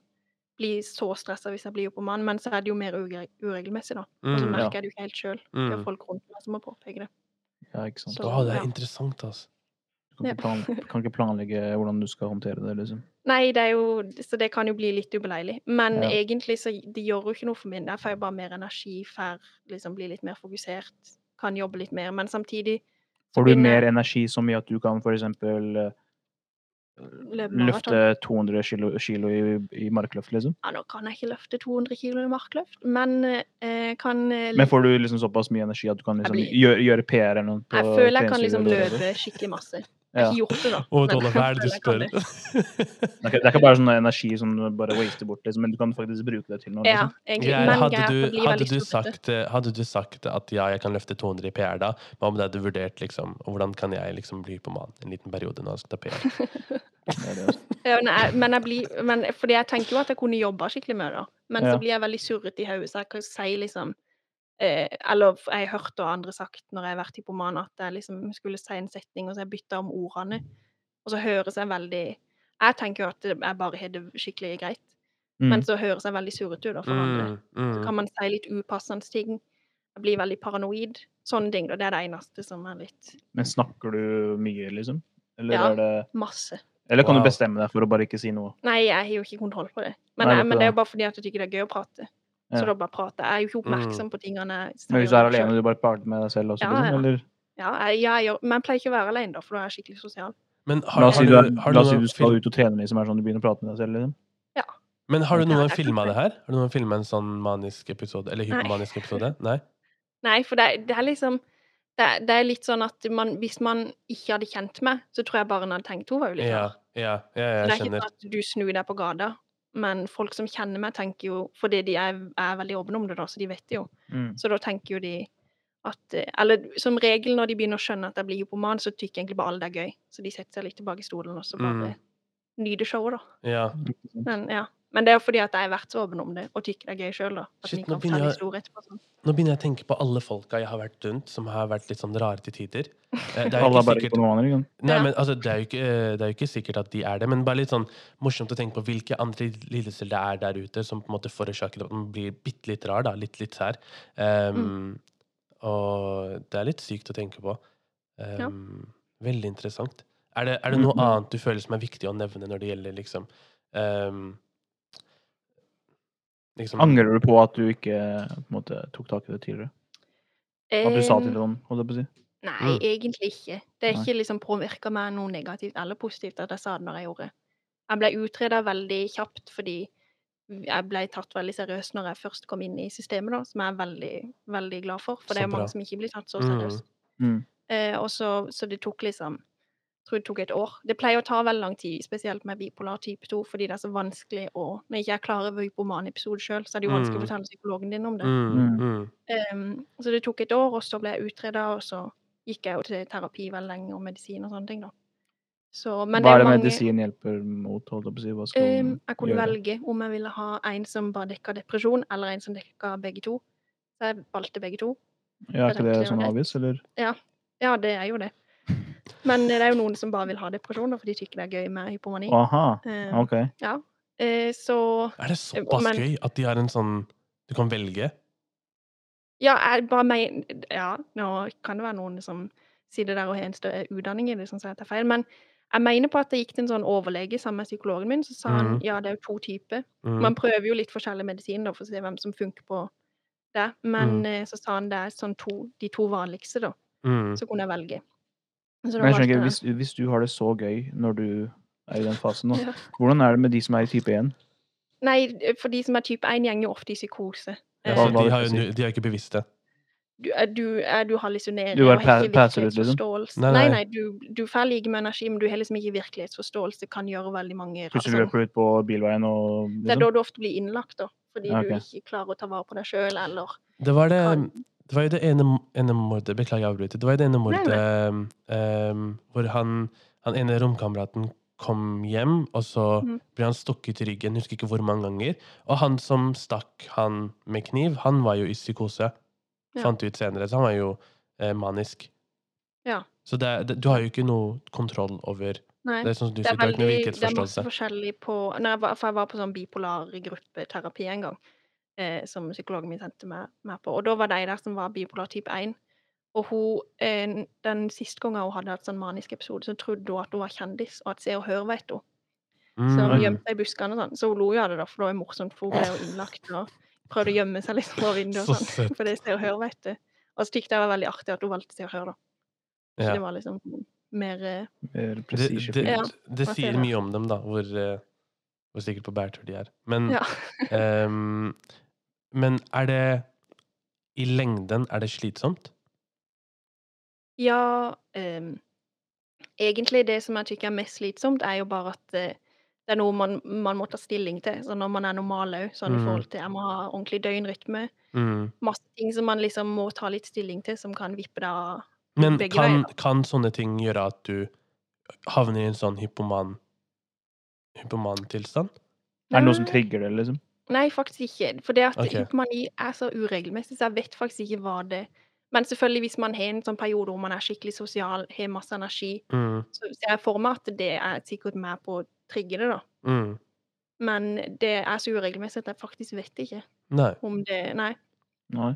Speaker 3: bli så stressa hvis jeg blir hypoman, men så er det jo mer ure uregelmessig, da. Og så
Speaker 1: Mm,
Speaker 2: ja.
Speaker 3: merker jeg det jo ikke helt sjøl. Det er
Speaker 1: mm.
Speaker 3: jo folk rundt meg som må påpeke det.
Speaker 2: Ja, ikke sant?
Speaker 3: Så-
Speaker 1: Å, det
Speaker 3: ja.
Speaker 1: er interessant, altså.
Speaker 2: Du kan ikke, plan, kan ikke planlegge hvordan du skal håndtere det, liksom.
Speaker 3: Nei, det er jo Så det kan jo bli litt ubeleilig. Men
Speaker 2: Ja.
Speaker 3: egentlig så det gjør jo ikke noe for min. Der får jeg bare mer energi, får liksom bli litt mer fokusert, kan jobbe litt mer. Men samtidig
Speaker 2: Får du
Speaker 3: begynner-
Speaker 2: mer energi så mye at du kan for eksempel eh,
Speaker 3: løper maraton.
Speaker 2: løfte 200 kilo, kilo i, i markløft, liksom?
Speaker 3: Ja, nå kan jeg ikke løfte 200 kilo i markløft, men eh, kan eh,
Speaker 2: Men får du liksom såpass mye energi at du kan
Speaker 3: Jeg
Speaker 2: liksom
Speaker 3: blir-
Speaker 2: gjøre, gjøre PR eller noe? på
Speaker 3: Jeg føler jeg kan
Speaker 2: treningsstudio
Speaker 3: liksom
Speaker 2: eller whatever?
Speaker 3: løpe skikkelig masse. Jeg
Speaker 2: Ja.
Speaker 3: har ikke gjort det, da.
Speaker 1: Å,
Speaker 3: men
Speaker 1: Dolle, hva er det du
Speaker 3: jeg føler jeg kan det.
Speaker 1: spør?
Speaker 2: Det er ikke- det er ikke bare sånn energi som du bare waster bort, liksom, men du kan faktisk bruke det til noe.
Speaker 3: Ja,
Speaker 2: Liksom.
Speaker 3: egentlig.
Speaker 1: Greier,
Speaker 3: Men
Speaker 1: hadde,
Speaker 3: jeg
Speaker 1: du,
Speaker 3: blir
Speaker 1: hadde,
Speaker 3: veldig
Speaker 1: du
Speaker 3: stor støtte.
Speaker 1: sagt, eh, hadde du sagt at ja, jeg kan løfte 200 i PR da, hva om det hadde vurdert liksom, og hvordan kan jeg liksom bli hypoman en liten periode når jeg skal ta PR?
Speaker 2: Det er det, altså.
Speaker 3: Ja, nei, men jeg blir, men, fordi jeg tenker jo at jeg kunne jobba skikkelig med det, da. men
Speaker 2: Ja.
Speaker 3: så blir jeg veldig surret i hodet, så jeg kan si liksom eh, Eller f- jeg har hørt og andre sagt når jeg har vært hypoman, at jeg liksom skulle si en setning, og så jeg bytta om ordene. Og så høres jeg veldig Jeg tenker jo at jeg bare har det skikkelig greit, men
Speaker 2: Mm.
Speaker 3: så høres jeg veldig surrete ut da, for andre.
Speaker 1: Mm,
Speaker 3: Så
Speaker 1: mm.
Speaker 3: kan man si litt upassende ting. Jeg blir veldig paranoid. Sånne ting. da. Det er det eneste som er litt
Speaker 2: Men snakker du mye, liksom? Eller,
Speaker 3: Ja.
Speaker 2: er det,
Speaker 3: masse.
Speaker 2: eller kan
Speaker 1: Wow.
Speaker 2: du bestemme deg for å bare ikke si noe?
Speaker 3: Nei, jeg har jo ikke kontroll på det. Men,
Speaker 2: Nei,
Speaker 3: jeg,
Speaker 2: vet
Speaker 3: men
Speaker 2: du
Speaker 3: det
Speaker 2: det.
Speaker 3: er jo bare fordi at jeg tykker det er gøy å prate. Så
Speaker 2: Ja. Mm.
Speaker 3: da bare prater jeg. Jeg er jo ikke oppmerksom på tingene jeg
Speaker 2: Men hvis du
Speaker 3: sier
Speaker 2: er
Speaker 3: selv.
Speaker 2: alene, du bare prater med deg selv også,
Speaker 3: Ja,
Speaker 2: liksom?
Speaker 3: ja.
Speaker 2: Eller
Speaker 3: Ja, jeg, ja, jeg gjør, men jeg pleier ikke å være alene, da, for da er jeg skikkelig sosial.
Speaker 1: Men
Speaker 2: la
Speaker 1: har,
Speaker 2: oss si
Speaker 1: har,
Speaker 2: du, er-
Speaker 1: du, har,
Speaker 2: la
Speaker 1: du
Speaker 2: oss si
Speaker 1: noen
Speaker 2: du skal
Speaker 1: fil-
Speaker 2: ut og trene, liksom, er det sånn du begynner å prate med deg selv, liksom?
Speaker 1: men har du
Speaker 3: Ja,
Speaker 1: noen
Speaker 3: jeg
Speaker 1: filma
Speaker 3: tror
Speaker 1: det her? Har du noen filma en sånn manisk episode, eller
Speaker 3: Nei.
Speaker 1: hypomanisk episode? Nei?
Speaker 3: Nei, for det, det er liksom det, er- det er litt sånn at man, hvis man ikke hadde kjent meg, så tror jeg bare en hadde tenkt hun var jo litt
Speaker 1: Ja,
Speaker 3: rar.
Speaker 1: ja, ja,
Speaker 3: Så det
Speaker 1: jeg
Speaker 3: er ikke
Speaker 1: skjønner.
Speaker 3: sånn at du snur deg på gata, men folk som kjenner meg, tenker jo Fordi de er, er veldig åpne om det, da, så de vet det jo.
Speaker 2: Mm.
Speaker 3: Så da tenker jo de at eh, Eller som regel når de begynner å skjønne at jeg blir hypoman, så tykker egentlig bare alle det
Speaker 1: Mm.
Speaker 3: er gøy. Så de setter seg litt tilbake i stolen og så bare nyter showet, da.
Speaker 1: Ja.
Speaker 3: Men ja. Men det er jo fordi at jeg har vært så åpen om det, og tykker det er gøy sjøl, da. At
Speaker 1: Shit,
Speaker 3: vi
Speaker 1: nå
Speaker 3: kan fortelle
Speaker 1: begynner jeg-
Speaker 3: historier etterpå. og Sånn.
Speaker 1: Nå begynner jeg å tenke på alle folka jeg har vært rundt, som har vært litt sånn rare til tider. Eh, Det er jo
Speaker 2: Alle
Speaker 1: ikke
Speaker 2: er bare
Speaker 1: sikkert-
Speaker 2: narkomaner, ikke sant?
Speaker 1: Nei,
Speaker 3: Ja.
Speaker 1: men altså, det, er jo ikke, eh, det er jo ikke sikkert at de er det, men bare litt sånn morsomt å tenke på hvilke andre lidelser det er der ute som på en måte forårsaker at man blir bitte litt rar, da, litt litt sær. Ehm, Og det er litt sykt å tenke på. Ehm, Veldig interessant. Er det, er det noe
Speaker 2: Mhm.
Speaker 1: annet du føler som er viktig å nevne når det gjelder liksom, ehm, liksom
Speaker 2: Angrer du på at du ikke på en måte, tok tak i det tidligere? At du sa til
Speaker 3: Em,
Speaker 2: dem, holdt jeg på å si?
Speaker 3: Ehm, Nei,
Speaker 1: Mm.
Speaker 3: egentlig ikke. Det er
Speaker 2: Nei.
Speaker 3: ikke liksom påvirka meg noe negativt eller positivt at jeg sa det når jeg gjorde. Jeg ble utreda veldig kjapt fordi jeg ble tatt veldig seriøst når jeg først kom inn i systemet, da, som jeg er veldig, veldig glad for. For det
Speaker 1: Så
Speaker 3: er jo
Speaker 1: bra.
Speaker 3: mange som ikke blir tatt så
Speaker 1: Mm.
Speaker 3: seriøst.
Speaker 2: Mm.
Speaker 3: Eh, og så, så det tok liksom jeg tror det tok et år. Det pleier å ta veldig lang tid, spesielt med bipolar type 2, fordi det er så vanskelig å Når ikke jeg klarer Vøypoman-episode sjøl, så er det jo vanskelig å
Speaker 1: Mm.
Speaker 3: fortelle psykologen din om det.
Speaker 1: Mm, mm.
Speaker 3: Ehm, så det tok et år, og så ble jeg utreda, og så gikk jeg jo til terapi veldig lenge, og medisin og sånne ting, da. Så, men
Speaker 2: Hva er det
Speaker 3: mange-
Speaker 2: medisin hjelper mot, holdt jeg på å si? Hva skal
Speaker 3: Ehm,
Speaker 2: man
Speaker 3: jeg kunne
Speaker 2: gjøre?
Speaker 3: velge om jeg ville ha en som bare dekka depresjon, eller en som dekka begge to. Så jeg valgte begge to.
Speaker 2: Ja, er ikke det
Speaker 3: egentlig
Speaker 2: sånn
Speaker 3: greit.
Speaker 2: avvis, eller?
Speaker 3: Ja, det er jo det. Men eh, det er jo noen som bare vil ha depresjon, da, for de tykker det er gøy med hypomani.
Speaker 2: Aha,
Speaker 3: Ehm,
Speaker 2: ok.
Speaker 3: eh, så
Speaker 1: Er det såpass
Speaker 3: Eh, Men-
Speaker 1: gøy at de har en sånn Du kan velge?
Speaker 3: Ja, jeg bare mener Ja, nå kan det være noen som sitter der og har en større utdanning i det, sånn som sier at det er feil, men jeg mener på at jeg gikk til en sånn overlege sammen med psykologen min, så sa han
Speaker 1: Mhm.
Speaker 3: ja, det er jo to typer.
Speaker 1: Mm.
Speaker 3: Man prøver jo litt forskjellige medisiner da, for å se hvem som funker på det, men
Speaker 2: Mm.
Speaker 3: eh, så sa han det er sånn to, de to vanligste, da,
Speaker 1: mm.
Speaker 3: så kunne jeg velge. Så
Speaker 2: Men jeg skjønner
Speaker 3: da valgte
Speaker 2: ikke,
Speaker 3: jeg-
Speaker 2: hvis, hvis du har det så gøy når du er i den fasen nå,
Speaker 3: Ja.
Speaker 2: hvordan er det med de som er i type 1?
Speaker 3: Nei, eh, for de som er type 1, gjenger jo ofte i psykose.
Speaker 1: Ja,
Speaker 3: Eh,
Speaker 1: så
Speaker 2: Hva- hva
Speaker 1: de, har
Speaker 2: vil
Speaker 1: jo,
Speaker 2: du
Speaker 1: nu- de har jo ikke bevisst det.
Speaker 3: du, er- du, er du hallusinerer
Speaker 2: Du bare
Speaker 3: og har
Speaker 2: pa-
Speaker 3: ikke
Speaker 2: passer ut, liksom?
Speaker 3: virkelighetsforståelse.
Speaker 1: Nei,
Speaker 3: Nei, nei,
Speaker 1: nei.
Speaker 3: du, du får like med energi, men du har liksom ikke virkelighetsforståelse. Kan gjøre veldig mange rare
Speaker 2: Plutselig
Speaker 3: sånn.
Speaker 2: løper du ut på bilveien og
Speaker 3: Det er
Speaker 2: liksom.
Speaker 3: da du ofte blir innlagt, da. Fordi
Speaker 2: Ja, ok.
Speaker 3: du ikke klarer å ta vare på deg sjøl, eller
Speaker 1: Det var, det,
Speaker 3: Kan-
Speaker 1: det var jo det ene, ene mordet Beklager, jeg avbryter. Det var jo det ene mordet ehm, hvor han, han ene romkameraten kom hjem, og så
Speaker 3: Mm.
Speaker 1: ble han stukket i ryggen, husker ikke hvor mange ganger. Og han som stakk han med kniv, han var jo i psykose,
Speaker 3: Ja.
Speaker 1: fant vi ut senere. Så han var jo eh, manisk.
Speaker 3: Ja.
Speaker 1: Så det, er- det, du har jo ikke noe kontroll over
Speaker 3: Nei.
Speaker 1: Det er sånn som du
Speaker 3: Det
Speaker 1: sier,
Speaker 3: er
Speaker 1: du har ikke noe
Speaker 3: veldig Det er masse
Speaker 1: virkelighetsforståelse.
Speaker 3: forskjellig på når jeg var, For jeg var på sånn bipolar gruppeterapi en gang, eh, som psykologen min sendte meg, meg på. Og da var de der som var bipolar type 1. Og hun, eh, den siste gangen hun hadde hatt sånn manisk episode, så trodde hun at hun var kjendis, og at Se og Hør vet hun. Så hun
Speaker 1: Mm.
Speaker 3: gjemte seg i buskene og sånn. Så hun lo jo av det, da, for det var jo morsomt, for hun ble jo innlagt og prøvde å gjemme seg liksom over vinduet og
Speaker 1: Så
Speaker 3: sånn. For det er Se og Hør, vet du. Og så tykte jeg det var veldig artig at hun valgte Se og Hør, da. Så
Speaker 1: Ja.
Speaker 3: det var liksom mer eh,
Speaker 2: Mer
Speaker 1: Det, det,
Speaker 2: prestisjefullt.
Speaker 3: Ja,
Speaker 1: det
Speaker 3: hva
Speaker 1: sier
Speaker 3: sier du?
Speaker 1: mye om dem, da, hvor, eh, hvor sikkert på bærtur de er.
Speaker 2: Mm.
Speaker 1: Men
Speaker 3: Ja.
Speaker 1: Ehm, men er det I lengden er det slitsomt?
Speaker 3: Ja, ehm, egentlig det som jeg tykker er mest slitsomt, er jo bare at eh, det er noe man, man må ta stilling til. Så når man er normal òg, sånn i
Speaker 2: Mm.
Speaker 1: Mhm.
Speaker 3: forhold til jeg må ha ordentlig døgnrytme.
Speaker 1: Mm.
Speaker 3: Masse ting som man liksom må ta litt stilling til, som kan vippe deg av.
Speaker 1: Men
Speaker 3: Begge
Speaker 1: kan,
Speaker 3: veier,
Speaker 1: kan sånne ting gjøre at du havner i en sånn hypoman hypomantilstand?
Speaker 2: Er det noe
Speaker 3: Mm.
Speaker 2: som trigger det, liksom?
Speaker 3: Nei, faktisk ikke. For det at
Speaker 1: Ok.
Speaker 3: hypomani er så uregelmessig, så jeg vet faktisk ikke hva det Men selvfølgelig, hvis man har en sånn periode hvor man er skikkelig sosial, har masse energi,
Speaker 1: Mm.
Speaker 3: så ser jeg for meg at det er sikkert med på å trigge det, da.
Speaker 1: Mm.
Speaker 3: Men det er så uregelmessig at jeg faktisk vet ikke
Speaker 1: Nei.
Speaker 3: om det Nei.
Speaker 2: Nei,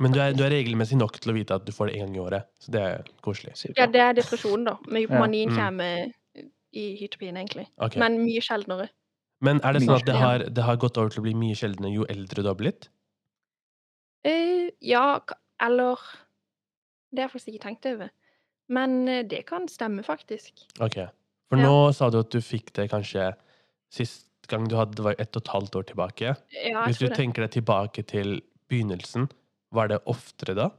Speaker 1: Men du er, du er regelmessig nok til å vite at du får det én gang i året. Så det er koselig.
Speaker 3: Ja,
Speaker 2: cirka.
Speaker 3: det er depresjonen, da. Men hypomanien
Speaker 1: mm.
Speaker 3: kommer i hytopien, egentlig.
Speaker 1: Ok. Men,
Speaker 3: Men mye sjeldnere.
Speaker 1: er det sånn at det
Speaker 3: Ja.
Speaker 1: har, det har gått over til å bli mye sjeldnere jo eldre du har blitt?
Speaker 3: Eh, ja, k- eller Det har jeg faktisk ikke tenkt over. Men eh, det kan stemme, faktisk.
Speaker 1: Ok. For
Speaker 3: Ja.
Speaker 1: nå sa du at du fikk det kanskje sist gang du hadde, det var ett og et halvt år tilbake.
Speaker 3: Ja, jeg
Speaker 1: Hvis du
Speaker 3: tror det.
Speaker 1: tenker deg tilbake til begynnelsen, var det oftere da?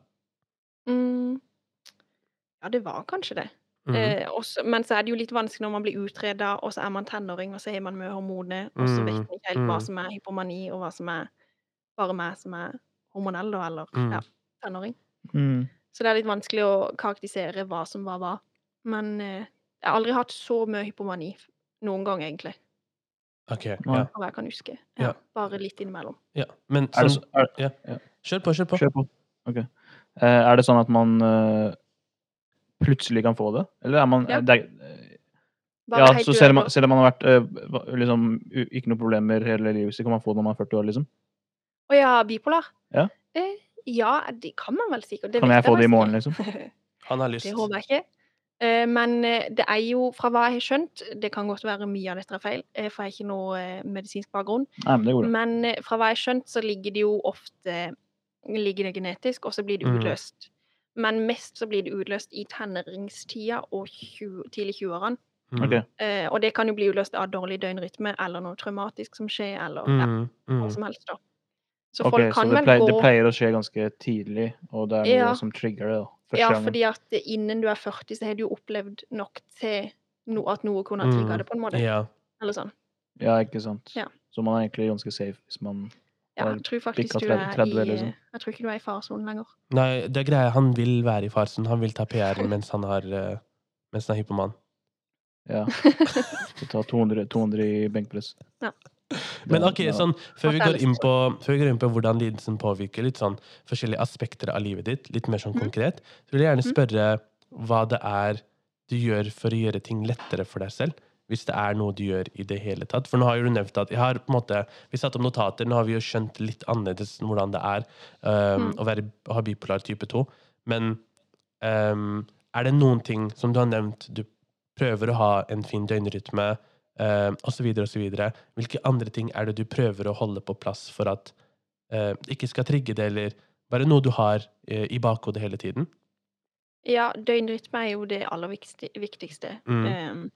Speaker 3: Mm. Ja, det var kanskje det.
Speaker 1: Mhm.
Speaker 3: Eh, også, men så er det jo litt vanskelig når man blir utreda, og så er man tenåring, og så har man mye hormoner, og så vet
Speaker 1: Mm,
Speaker 3: man ikke helt hva
Speaker 1: mm.
Speaker 3: som er hypomani, og hva som er bare meg som er hormonell, da, eller
Speaker 1: Mm.
Speaker 3: ja, tenåring.
Speaker 2: Mm.
Speaker 3: Så det er litt vanskelig å karakterisere hva som var hva. Men eh, jeg har aldri hatt så mye hypomani f- noen gang, egentlig.
Speaker 1: OK. Ja.
Speaker 3: av hva jeg kan huske.
Speaker 1: Ja.
Speaker 3: Ja, bare litt innimellom.
Speaker 1: ja. Men
Speaker 2: Er det,
Speaker 1: sånn,
Speaker 2: så- er,
Speaker 1: kjør på, kjør på.
Speaker 2: Kjør på. Ok. Eh, er det sånn at man eh, plutselig kan få det? Eller er man
Speaker 3: Ja.
Speaker 2: det er,
Speaker 3: Bare
Speaker 2: Ja,
Speaker 3: helt
Speaker 2: så selv om,
Speaker 3: uavgjort.
Speaker 2: selv om man har vært eh, va- liksom, u- ikke noen problemer hele livet sitt, kan man få det når man er 40 år, liksom?
Speaker 3: Å ja, bipolar?
Speaker 2: Ja.
Speaker 3: Eh, ja, det kan man vel sikkert.
Speaker 2: Kan jeg få det i morgen, liksom?
Speaker 3: liksom?
Speaker 1: Han har lyst.
Speaker 3: det håper jeg ikke. Eh, Men eh, det er jo, fra hva jeg har skjønt, det kan godt være mye av dette er feil, eh, for jeg har ikke noe eh, medisinsk bakgrunn.
Speaker 2: Nei, men det går bra.
Speaker 3: Men eh, fra hva jeg har skjønt, så ligger det jo ofte ligger det genetisk, og så blir det
Speaker 1: Mm.
Speaker 3: utløst. Men mest så blir det utløst i tenåringstida og 20, tidlig 20-årene.
Speaker 1: Mm.
Speaker 2: Ok.
Speaker 3: Eh, og det kan jo bli utløst av dårlig døgnrytme eller noe traumatisk som skjer, eller ja,
Speaker 1: Mm. Mm.
Speaker 3: hva som helst, da. Så
Speaker 2: Ok,
Speaker 3: folk
Speaker 2: så
Speaker 3: kan
Speaker 2: det
Speaker 3: vel
Speaker 2: pleier, det
Speaker 3: gå
Speaker 2: pleier å skje ganske tidlig, og det er noe
Speaker 3: Ja.
Speaker 2: som trigger det, da. Første
Speaker 3: Ja,
Speaker 2: gangen.
Speaker 3: fordi at innen du er 40, så har du jo opplevd nok til no, at noe kunne ha
Speaker 1: Mm,
Speaker 3: trigga det, på en måte.
Speaker 1: Ja.
Speaker 3: Eller sånn.
Speaker 2: Ja, ikke sant.
Speaker 3: Ja.
Speaker 2: Så man er egentlig ganske safe hvis man
Speaker 3: Ja,
Speaker 2: Da
Speaker 3: jeg tror faktisk
Speaker 2: bikka
Speaker 3: du
Speaker 2: 30,
Speaker 3: er i
Speaker 2: 30, liksom.
Speaker 3: Jeg tror ikke du er i faresonen lenger.
Speaker 1: Nei, det er greia. Han vil være i farsen. Han vil ta PR-en mens han har eh, mens han er hypoman.
Speaker 2: ja, skal ta 200, 200 i benkpress.
Speaker 3: Ja.
Speaker 2: Det-
Speaker 1: Men ok,
Speaker 2: ja.
Speaker 1: sånn, før vi
Speaker 3: Fortell
Speaker 1: går inn på, før vi går inn på hvordan lidelsen påvirker litt sånn forskjellige aspekter av livet ditt, litt mer sånn
Speaker 3: Mhm.
Speaker 1: konkret, så vil jeg gjerne
Speaker 3: Mhm.
Speaker 1: spørre hva det er du gjør for å gjøre ting lettere for deg selv, hvis det er noe du gjør i det hele tatt. For nå har jo du nevnt at jeg har på en måte, vi satt om notater, nå har vi jo skjønt litt annerledes hvordan det er øhm,
Speaker 3: Mhm.
Speaker 1: å være, å ha bipolar type 2. Men øhm, er det noen ting som du har nevnt, du prøver å ha en fin døgnrytme, eh, og så videre og så videre. Hvilke andre ting er det du prøver å holde på plass for at eh, det ikke skal trigge det, eller bare noe du har eh, i bakhodet hele tiden?
Speaker 3: Ja, døgnrytme er jo det aller viktigste. viktigste.
Speaker 1: Mm.
Speaker 3: Ehm,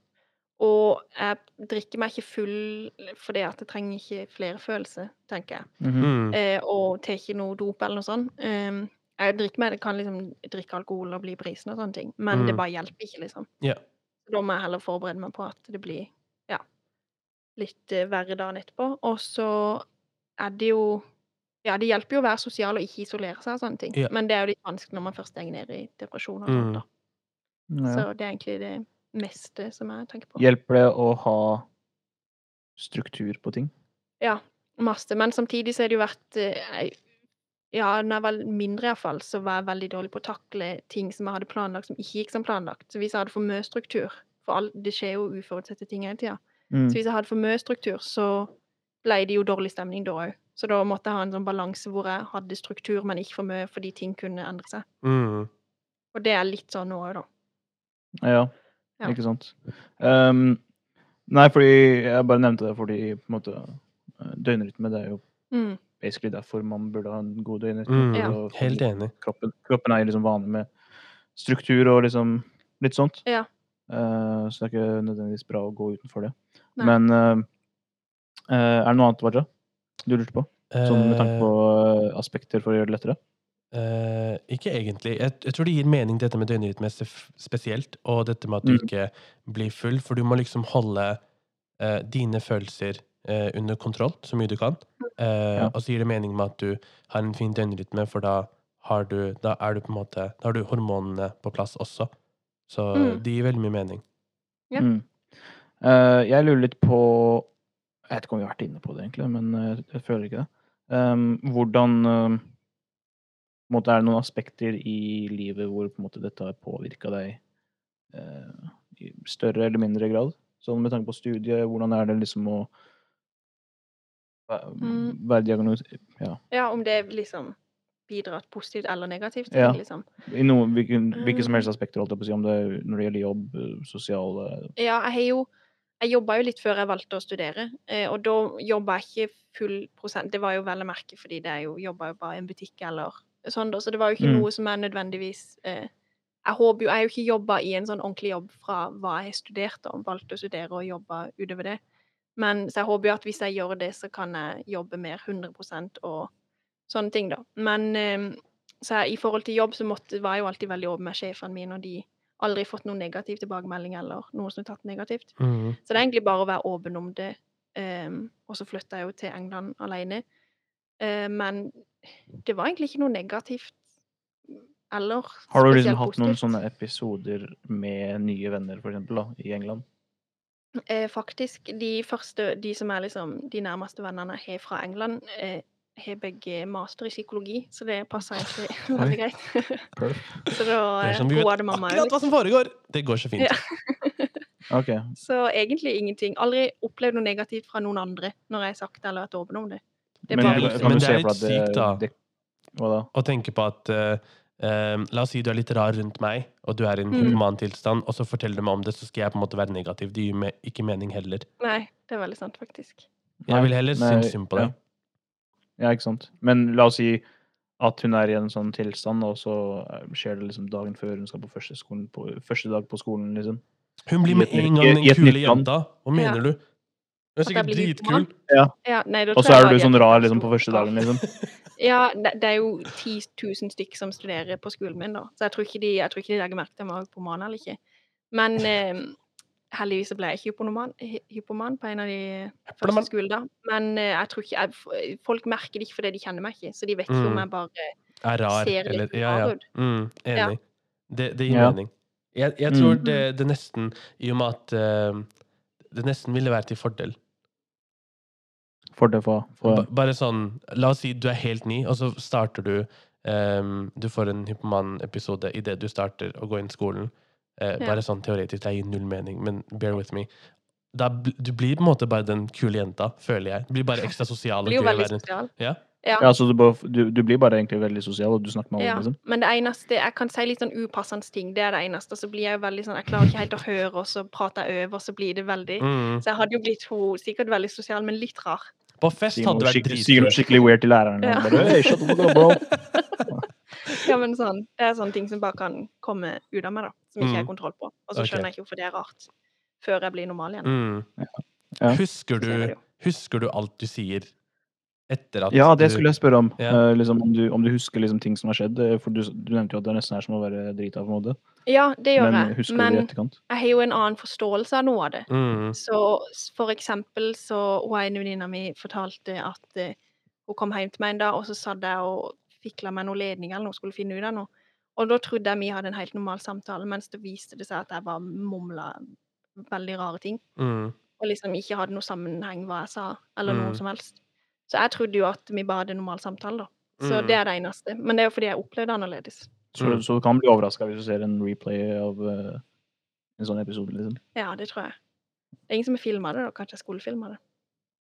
Speaker 3: og jeg drikker meg ikke full fordi at jeg trenger ikke flere følelser, tenker jeg.
Speaker 2: Mhm.
Speaker 1: Mm.
Speaker 3: Eh, og tar ikke noe dop eller noe sånt. Ehm, jeg drikker meg, jeg kan liksom drikke alkohol og bli brisen og sånne ting, men det
Speaker 1: Mm.
Speaker 3: bare hjelper ikke, liksom.
Speaker 1: Ja.
Speaker 3: Da må jeg heller forberede meg på at det blir ja, litt eh, verre dagen etterpå. Og så er det jo Ja, det hjelper jo å være sosial og ikke isolere seg og sånne ting,
Speaker 1: Ja.
Speaker 3: men det er jo litt vanskelig når man først stenger ned i depresjon og sånt,
Speaker 1: Mm.
Speaker 3: da.
Speaker 2: Ja.
Speaker 3: Så det er egentlig det meste som jeg tenker på.
Speaker 2: Hjelper det å ha struktur på ting?
Speaker 3: Masse. Men samtidig så har det jo vært eh, jeg- Ja, når jeg var mindre iallfall, så var jeg veldig dårlig på å takle ting som jeg hadde planlagt, som ikke gikk som planlagt. Så hvis jeg hadde for mye struktur For all, det skjer jo uforutsette ting hele tida.
Speaker 2: Mm.
Speaker 3: Så hvis jeg hadde for mye struktur, så ble det jo dårlig stemning da òg. Så da måtte jeg ha en sånn balanse hvor jeg hadde struktur, men ikke for mye, fordi ting kunne endre seg.
Speaker 1: Mm.
Speaker 3: Og det er litt sånn nå òg, da.
Speaker 2: Ja,
Speaker 3: Ja.
Speaker 2: ikke sant. Ehm, nei, fordi jeg bare nevnte det fordi på en måte, eh, døgnrytme det er jo
Speaker 3: Mm.
Speaker 2: basically derfor man burde ha en god døgnrytme.
Speaker 1: Mm.
Speaker 3: Ja.
Speaker 2: for å-
Speaker 1: Helt enig.
Speaker 2: Kroppen, kroppen er jo liksom vanlig med struktur og liksom litt sånt.
Speaker 3: Ja.
Speaker 2: Eh, så det er ikke nødvendigvis bra å gå utenfor det.
Speaker 3: Nei.
Speaker 2: Men eh, eh, er det noe annet, Waja, du lurte på? Sånn med tanke på eh, aspekter for å gjøre det lettere?
Speaker 1: Eh, ikke egentlig. Jeg, jeg tror det gir mening, dette med døgnrytme sef- spesielt, og dette med at du
Speaker 2: Mm.
Speaker 1: ikke blir full, for du må liksom holde eh, dine følelser eh, under kontroll så mye du kan. Eh,
Speaker 2: Ja.
Speaker 1: Og så gir det mening med at du har en fin døgnrytme, for da har du, da er du på en måte Da har du hormonene på plass også. Så
Speaker 3: Mm.
Speaker 1: det gir veldig mye mening.
Speaker 3: Ja.
Speaker 2: Mm. Eh, jeg lurer litt på Jeg vet ikke om vi har vært inne på det, egentlig, men eh, jeg føler ikke det. Ehm, hvordan eh, på en måte, Er det noen aspekter i livet hvor på en måte, dette har påvirka deg eh, i større eller mindre grad? Sånn med tanke på studiet, hvordan er det liksom å væ-
Speaker 3: Mm.
Speaker 2: være diagnos... Ja.
Speaker 3: Ja, om det liksom bidratt positivt eller negativt, til
Speaker 2: Ja.
Speaker 3: det, liksom.
Speaker 2: I noen, hvilken, hvilke som
Speaker 3: Mm.
Speaker 2: helst aspekter, holdt jeg på å si, om det er når det gjelder jobb, eh, sosiale
Speaker 3: Ja, jeg har jo jeg jobba jo litt før jeg valgte å studere, eh, og da jobba jeg ikke full prosent. Det var jo vel å merke, fordi det er jo jobba jo bare i en butikk eller sånn, da, så det var jo ikke
Speaker 2: Mm.
Speaker 3: noe som jeg nødvendigvis eh, Jeg håper jo Jeg har jo ikke jobba i en sånn ordentlig jobb fra hva jeg har studert, da, og valgte å studere og jobba utover det. Men så jeg håper jo at hvis jeg gjør det, så kan jeg jobbe mer 100 og sånne ting, da. Men eh, så jeg, i forhold til jobb så måtte, var jeg jo alltid veldig åpen med sjefene mine, og de aldri fått noen negativ tilbakemelding eller noen som har tatt negativt.
Speaker 1: Mm.
Speaker 3: Så det er egentlig bare å være åpen om det. Ehm, og så flytta jeg jo til England alene. Eh, men det var egentlig ikke noe negativt eller
Speaker 2: Har du
Speaker 3: spesielt
Speaker 2: liksom hatt noen
Speaker 3: positivt.
Speaker 2: sånne episoder med nye venner, for eksempel, da, i England?
Speaker 3: Eh, faktisk, de første, de som er liksom de nærmeste vennene jeg har fra England, eh, har begge master i psykologi, så det passer egentlig veldig greit. så da
Speaker 1: Det er
Speaker 3: eh,
Speaker 1: sånn, vi
Speaker 3: roer
Speaker 1: vet
Speaker 3: det mamma òg.
Speaker 1: akkurat hva som foregår! Det går så fint.
Speaker 3: Ja.
Speaker 2: Ok.
Speaker 3: Så egentlig ingenting. Aldri opplevd noe negativt fra noen andre når jeg har sagt det eller vært åpen om det. Det er
Speaker 2: Men
Speaker 3: bare
Speaker 2: kan
Speaker 1: Men
Speaker 2: du
Speaker 1: det
Speaker 2: se
Speaker 1: er
Speaker 2: for
Speaker 1: litt
Speaker 2: deg at
Speaker 1: sykt, da.
Speaker 2: det- Hva da?
Speaker 1: Å tenke på at eh, eh, La oss si du er litt rar rundt meg, og du er i en
Speaker 3: Mm.
Speaker 1: human tilstand, og så forteller du meg om det, så skal jeg på en måte være negativ. Det gir meg ikke mening heller.
Speaker 3: Nei, det er veldig sant, faktisk.
Speaker 2: Nei,
Speaker 1: Jeg vil heller
Speaker 2: nei,
Speaker 1: synes synd på deg.
Speaker 2: Ja, ikke sant. Men la oss si at hun er i en sånn tilstand, og så eh, skjer det liksom dagen før hun skal på første, skolen, på, første dag på skolen, liksom.
Speaker 1: Hun blir
Speaker 2: I
Speaker 1: med
Speaker 2: et
Speaker 1: en
Speaker 2: nytt-
Speaker 1: gang
Speaker 2: i
Speaker 1: den
Speaker 2: et
Speaker 1: kule
Speaker 2: nytt land.
Speaker 1: jenta. Hva mener du?
Speaker 3: Ja.
Speaker 1: Hun er
Speaker 3: At jeg
Speaker 1: sikkert
Speaker 3: blir litt
Speaker 1: dritkul.
Speaker 3: Ja, nei, da
Speaker 2: Og
Speaker 3: tror
Speaker 2: så
Speaker 3: jeg
Speaker 2: er du
Speaker 3: bare-
Speaker 2: sånn rar liksom på første dagen, liksom.
Speaker 3: Ja, det, det er jo 10 000 stykk som studerer på skolen min, da. Så jeg tror ikke de, jeg tror ikke de legger merke til om jeg er hypoman eller ikke. Men eh, heldigvis så ble jeg ikke hyponoman, hy- hypoman på en av de
Speaker 1: Hyponoman.
Speaker 3: første skolene. da. Men eh, jeg tror ikke, jeg, folk merker det ikke fordi de kjenner meg ikke, så de vet ikke
Speaker 1: Mm.
Speaker 3: om jeg bare
Speaker 1: Er rar.
Speaker 3: ser litt
Speaker 1: Eller, ja, ja.
Speaker 3: rar ut.
Speaker 1: Mm,
Speaker 3: Ja.
Speaker 1: enig. Det, det gir
Speaker 2: Ja.
Speaker 1: mening. Jeg, jeg
Speaker 2: Mm.
Speaker 1: tror det, det nesten I og med at eh, det nesten ville være til fordel.
Speaker 2: Fordel for, for
Speaker 1: Ba- Bare sånn La oss si du er helt ny, og så starter du ehm, Du får en Hypoman-episode idet du starter å gå inn i skolen. Eh,
Speaker 3: Ja.
Speaker 1: Bare sånn teoretisk. Det gir null mening, men bear with me. Da, bl- du blir på en måte bare den kule jenta, føler jeg. Du blir bare ekstra sosial. og
Speaker 3: Blir jo
Speaker 1: gøy å
Speaker 3: veldig
Speaker 1: være-
Speaker 3: sosial.
Speaker 1: Ja.
Speaker 2: Ja, så du, bare, du, du blir bare egentlig veldig sosial, og du snakker med alle,
Speaker 3: Ja,
Speaker 2: liksom.
Speaker 3: men det eneste Jeg kan si litt sånn upassende ting, det er det eneste. Så blir jeg jo veldig sånn Jeg klarer ikke helt å høre, og så prater jeg over, og så blir det veldig
Speaker 1: Mm.
Speaker 3: Så jeg hadde jo blitt hun sikkert veldig sosial, men litt rar.
Speaker 1: På fest
Speaker 2: Sier
Speaker 1: hadde du
Speaker 2: noe
Speaker 1: vært
Speaker 2: skikkelig, sier noe
Speaker 1: dritkul.
Speaker 2: skikkelig weird til læreren.
Speaker 3: Ja.
Speaker 2: og Bare, hey, shut the fuck up, bro.
Speaker 3: Ja, men sånn, det er sånne ting som bare kan komme ut av meg, da. Som ikke jeg har kontroll på. Og så
Speaker 1: Ok.
Speaker 3: skjønner jeg ikke hvorfor det er rart. Før jeg blir normal igjen.
Speaker 1: Mm.
Speaker 2: Ja.
Speaker 1: Husker,
Speaker 3: Så er det
Speaker 1: du,
Speaker 3: jo.
Speaker 1: husker du alt du sier etter at
Speaker 2: Ja, det
Speaker 1: du-
Speaker 2: skulle jeg spørre om.
Speaker 1: Ja.
Speaker 2: Eh, liksom, om, du, om du husker liksom, ting som har skjedd. eh, For du, du nevnte jo at det nesten er som å være drita, på en måte.
Speaker 3: Ja, det gjør
Speaker 2: Men
Speaker 3: jeg.
Speaker 2: husker du i
Speaker 3: Men
Speaker 2: etterkant?
Speaker 3: jeg har jo en annen forståelse av noe av det.
Speaker 1: mm.
Speaker 3: Så s- for eksempel så hun ene venninna mi fortalte at eh, hun kom hjem til meg en dag, og så satt jeg og fikla med noen ledninger eller noe, skulle finne ut av noe. Og da trodde jeg vi hadde en helt normal samtale, mens det viste det seg at jeg bare mumla veldig rare ting.
Speaker 1: Mm.
Speaker 3: og liksom ikke hadde noe sammenheng hva jeg sa, eller
Speaker 1: Mm.
Speaker 3: noe som helst. Så jeg trodde jo at vi bare hadde normal samtale, da. Så
Speaker 1: Mm.
Speaker 3: det er det eneste. Men det er jo fordi jeg opplevde det annerledes.
Speaker 2: Så,
Speaker 1: Mm.
Speaker 2: så du kan bli overraska hvis du ser en replay av eh, en sånn episode. liksom.
Speaker 3: Ja, det tror jeg. Det er ingen som har filma det, da. Kanskje jeg skulle filma det.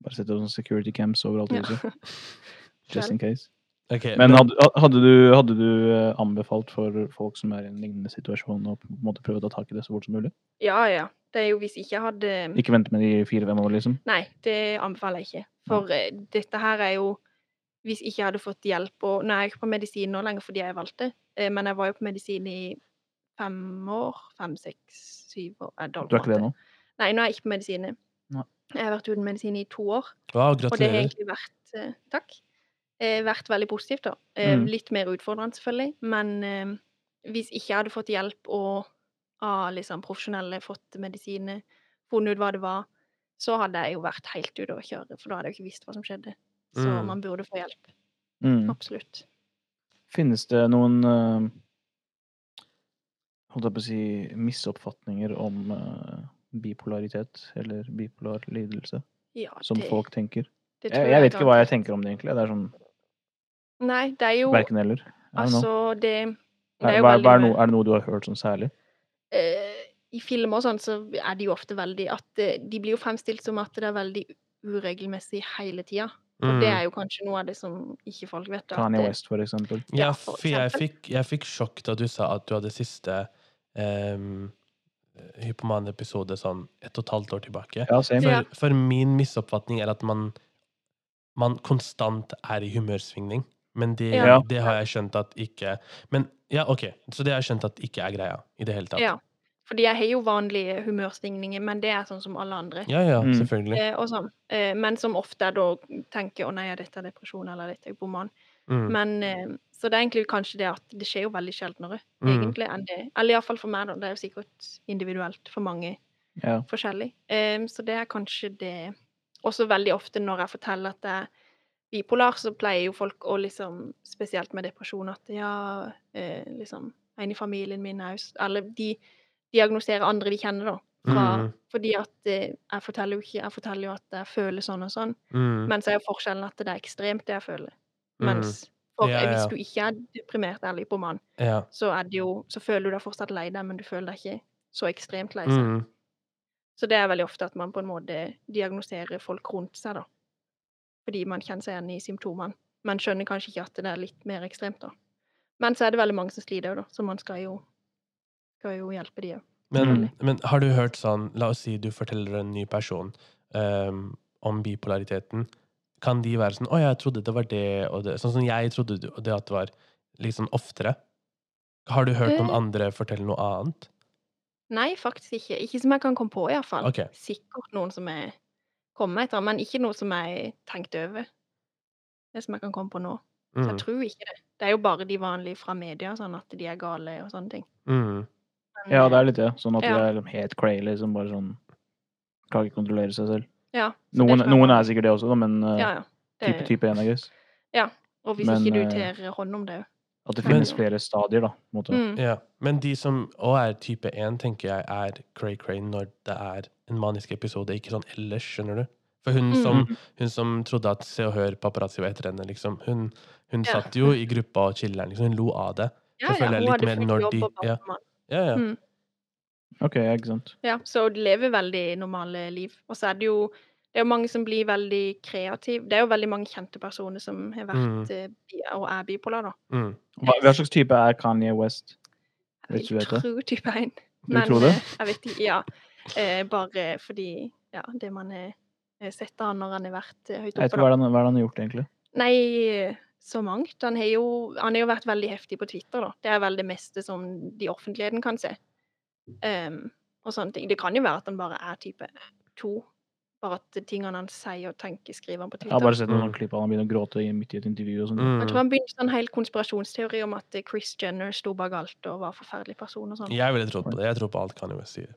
Speaker 2: Bare sette sånn security cams overalt. i
Speaker 3: Ja.
Speaker 2: huset, Just in case.
Speaker 1: Ok,
Speaker 2: Men hadde, hadde du, hadde du eh, anbefalt for folk som er i en lignende situasjon, å på en måte prøve å ta tak i det så fort som mulig?
Speaker 3: ja, ja. Det er jo hvis ikke jeg hadde eh,
Speaker 2: Ikke vente med de fire-fem år, liksom?
Speaker 3: Nei, det anbefaler jeg ikke. For eh, dette her er jo Hvis ikke jeg hadde fått hjelp og Nå er jeg ikke på medisin nå lenger fordi jeg valgte, eh, men jeg var jo på medisin i fem år. Fem, seks, syv år. Jeg
Speaker 2: Du er ikke det nå?
Speaker 3: Nei, nå er jeg ikke på medisiner.
Speaker 2: Nei.
Speaker 3: Jeg har vært uten medisin i to år,
Speaker 1: wow,
Speaker 3: og det har
Speaker 1: gratulerer.
Speaker 3: egentlig vært eh, Takk. Eh, vært veldig positivt, da. Eh,
Speaker 2: Mm.
Speaker 3: Litt mer utfordrende, selvfølgelig, men eh, hvis ikke jeg hadde fått hjelp og av liksom, profesjonelle fått medisiner, funnet ut hva det var, så hadde jeg jo vært helt ute å kjøre, for da hadde jeg jo ikke visst hva som skjedde. Så
Speaker 1: Mm.
Speaker 3: man burde få hjelp.
Speaker 2: Mm.
Speaker 3: Absolutt.
Speaker 2: Finnes det noen eh, holdt jeg på å si misoppfatninger om eh, bipolaritet eller bipolar lidelse
Speaker 3: Ja,
Speaker 2: som
Speaker 3: det,
Speaker 2: folk tenker?
Speaker 3: det
Speaker 2: Jeg, jeg vet ikke hva jeg
Speaker 3: garantert.
Speaker 2: tenker om det, egentlig. Det er sånn
Speaker 3: Nei, det er jo
Speaker 2: verken eller. I don't know.
Speaker 3: Altså, det, det
Speaker 2: Er,
Speaker 3: jo
Speaker 2: hva, hva er,
Speaker 3: veldig-
Speaker 2: noe, er det noe du har hørt sånn særlig?
Speaker 3: eh, i filmer og sånn, så er det jo ofte veldig at eh, De blir jo fremstilt som at det er veldig uregelmessig hele tida. Og
Speaker 1: Mm.
Speaker 3: det er jo kanskje noe av det som ikke folk vet. da,
Speaker 2: Kanye
Speaker 3: at, eh,
Speaker 2: West, for eksempel.
Speaker 1: Ja,
Speaker 3: Ja, for
Speaker 1: for jeg
Speaker 3: eksempel.
Speaker 1: fikk, jeg fikk sjokk da du sa at du hadde siste um, hypoman-episode sånn et og et halvt år tilbake.
Speaker 2: Ja, same.
Speaker 3: Ja.
Speaker 1: For, for min misoppfatning er at man, man konstant er i humørsvingning. Men det,
Speaker 3: Ja.
Speaker 1: det har jeg skjønt at ikke Men ja, OK. Så det har jeg skjønt at ikke er greia i det hele tatt.
Speaker 3: Ja. Fordi jeg har jo vanlige humørsvingninger, men det er sånn som alle andre.
Speaker 1: ja, ja,
Speaker 2: Mm.
Speaker 1: selvfølgelig.
Speaker 3: Eh, og sånn. eh, men som ofte er da tenker 'Å nei, ja, dette er depresjon', eller 'dette er boman'.
Speaker 1: Mm.
Speaker 3: Men eh, Så det er egentlig kanskje det at det skjer jo veldig sjeldnere,
Speaker 1: Mm.
Speaker 3: egentlig, enn det Eller iallfall for meg, da. Det er jo sikkert individuelt for mange
Speaker 2: Ja.
Speaker 3: forskjellig. Ehm, så det er kanskje det Også veldig ofte når jeg forteller at jeg er bipolar, så pleier jo folk å liksom Spesielt med depresjon at ja, eh, liksom En i familien min er jo s- Eller de diagnoserer andre de kjenner, da. Fra,
Speaker 1: Mm.
Speaker 3: Fordi at eh, jeg forteller jo ikke Jeg forteller jo at jeg føler sånn og sånn.
Speaker 1: Mm.
Speaker 3: Men så er jo forskjellen at det er ekstremt, det jeg føler. Mens for,
Speaker 1: Ja,
Speaker 3: eh,
Speaker 1: ja, ja.
Speaker 3: hvis du ikke er deprimert eller hypoman,
Speaker 1: Ja.
Speaker 3: så er det jo Så føler du deg fortsatt lei deg, men du føler deg ikke så ekstremt lei seg.
Speaker 1: Mm.
Speaker 3: Så det er veldig ofte at man på en måte diagnoserer folk rundt seg, da. Fordi man kjenner seg igjen i symptomene. Man skjønner kanskje ikke at det er litt mer ekstremt, da. Men så er det veldig mange som sliter òg, da, så man skal jo, skal jo hjelpe de òg.
Speaker 1: Men,
Speaker 2: Mm.
Speaker 1: men har du hørt sånn La oss si du forteller en ny person ehm, om bipolariteten. Kan de være sånn 'Å, jeg trodde det var det', og det Sånn som jeg trodde det og det at det var litt sånn oftere. Har du hørt noen
Speaker 3: Eh.
Speaker 1: andre fortelle noe annet?
Speaker 3: Nei, faktisk ikke. Ikke som jeg kan komme på, iallfall.
Speaker 1: Ok.
Speaker 3: Sikkert noen som jeg kommer etter, men ikke noe som jeg tenkte over. Det som jeg kan komme på nå. Så
Speaker 1: Mm.
Speaker 3: jeg tror ikke det. Det er jo bare de vanlige fra media, sånn at de er gale og sånne ting.
Speaker 1: Mm.
Speaker 3: Men,
Speaker 2: Ja,
Speaker 3: eh,
Speaker 2: det er litt det. Sånn at
Speaker 3: Ja.
Speaker 2: det er liksom helt crazy, som bare sånn Klarer ikke å kontrollere seg selv.
Speaker 3: ja, så det
Speaker 2: Noen,
Speaker 3: tror jeg
Speaker 2: noen
Speaker 3: bare-
Speaker 2: er sikkert det også, da, men eh,
Speaker 3: ja, ja. Det-
Speaker 2: type type 1, I guess.
Speaker 3: Og hvis
Speaker 2: men,
Speaker 3: ikke du
Speaker 2: eh,
Speaker 3: tar hånd om det òg.
Speaker 2: At det
Speaker 3: Men-
Speaker 2: finnes flere stadier, da. på en Måte.
Speaker 3: Mm.
Speaker 1: Ja. Men de som òg er type 1, tenker jeg er cray-cray når det er en manisk episode, ikke sånn ellers, skjønner du? For hun
Speaker 3: Mm.
Speaker 1: som, hun som trodde at Se og Hør paparazzi var etter henne, liksom, hun, hun
Speaker 3: Ja.
Speaker 1: satt jo i gruppa og chiller'n, liksom. Hun lo av det.
Speaker 3: Ja,
Speaker 1: Så
Speaker 3: ja,
Speaker 1: føler jeg
Speaker 3: hun
Speaker 1: litt
Speaker 3: hadde
Speaker 1: mer
Speaker 3: fått
Speaker 1: når
Speaker 3: jobb
Speaker 1: de-
Speaker 3: og
Speaker 1: ja.
Speaker 3: barn.
Speaker 1: Ja, ja.
Speaker 3: Mm.
Speaker 2: Ok, ja, ikke sant.
Speaker 3: Ja, så de lever veldig normale liv. Og så er det jo det er jo mange som blir veldig kreative. Det er jo veldig mange kjente personer som har vært eh, bi- og er bipolar, da.
Speaker 1: Mm.
Speaker 2: Hva, hva slags type er Kanye West? Vet
Speaker 3: Jeg
Speaker 2: du
Speaker 3: vil
Speaker 2: vet det?
Speaker 3: tro type 1.
Speaker 2: Du tror det?
Speaker 3: eh, jeg vet ikke. Ja. Eh, bare fordi Ja, det man har eh, sett av han når han har vært eh,
Speaker 2: Jeg vet
Speaker 3: høyt oppe,
Speaker 2: ikke hva
Speaker 3: da.
Speaker 2: er det han, hva er det han har gjort, egentlig.
Speaker 3: Nei, eh, så mangt. Han har jo, han har jo vært veldig heftig på Twitter, da. Det er vel det meste som de i offentligheten kan se. Ehm, og sånne ting. Det kan jo være at han bare er type 2. Bare at tingene han sier og tenker, skriver han på
Speaker 2: Jeg har
Speaker 3: Twitter.
Speaker 2: bare sett noen
Speaker 1: Mm.
Speaker 2: klipp av han begynner å gråte i- midt i et intervju og sånn.
Speaker 1: Mm.
Speaker 3: Jeg tror han begynte en hel konspirasjonsteori om at Chris Jenner sto bak alt og var en forferdelig person og sånn.
Speaker 1: Jeg ville trodd på det. Jeg tror på alt Kanye West sier.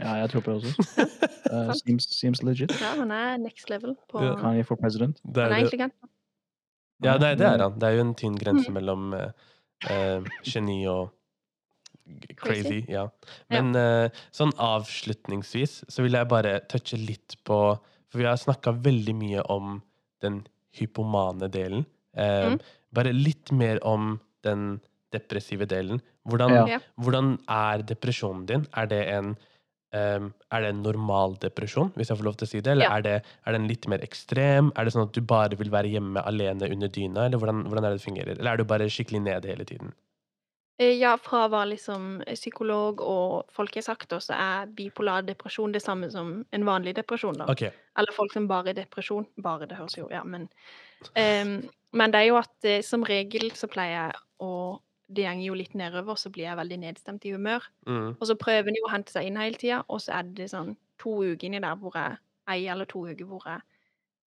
Speaker 2: Ja, jeg tror på det også. Eh,
Speaker 3: Sant.
Speaker 2: seems, seems legit.
Speaker 3: ja, han er next level på
Speaker 1: Ja.
Speaker 2: Kanye for president.
Speaker 1: Det
Speaker 3: Han
Speaker 1: er,
Speaker 3: er
Speaker 1: jo-
Speaker 3: intelligent.
Speaker 1: ja, nei, det er han. Det er jo en tynn
Speaker 3: Mm.
Speaker 1: grense mellom eh, eh, geni og g- crazy.
Speaker 3: Crazy.
Speaker 1: Ja. Men eh, sånn avslutningsvis så vil jeg bare touche litt på For vi har snakka veldig mye om den hypomane delen. Eh,
Speaker 3: Mm.
Speaker 1: Bare litt mer om den depressive delen. Hvordan,
Speaker 2: Ja.
Speaker 3: Ja.
Speaker 1: hvordan er depresjonen din? Er det en Um, er det en normal depresjon, hvis jeg får lov til å si det? Eller
Speaker 3: Ja.
Speaker 1: er, det, er den litt mer ekstrem? Er det sånn at du bare vil være hjemme alene under dyna? Eller hvordan, hvordan er det det fungerer? Eller er du bare skikkelig nede hele tiden?
Speaker 3: Eh, Ja, fra å være liksom psykolog og folk har sagt også, er bipolar depresjon det samme som en vanlig depresjon, da.
Speaker 1: Ok.
Speaker 3: Eller folk som bare er depresjon. Bare, det høres jo Ja, men Ehm, Men det er jo at eh, som regel så pleier jeg å Det går jo litt nedover, så blir jeg veldig nedstemt i humør.
Speaker 1: Mm.
Speaker 3: Og så prøver en jo å hente seg inn hele tida, og så er det sånn to uker inni der hvor jeg Ei eller to uker hvor jeg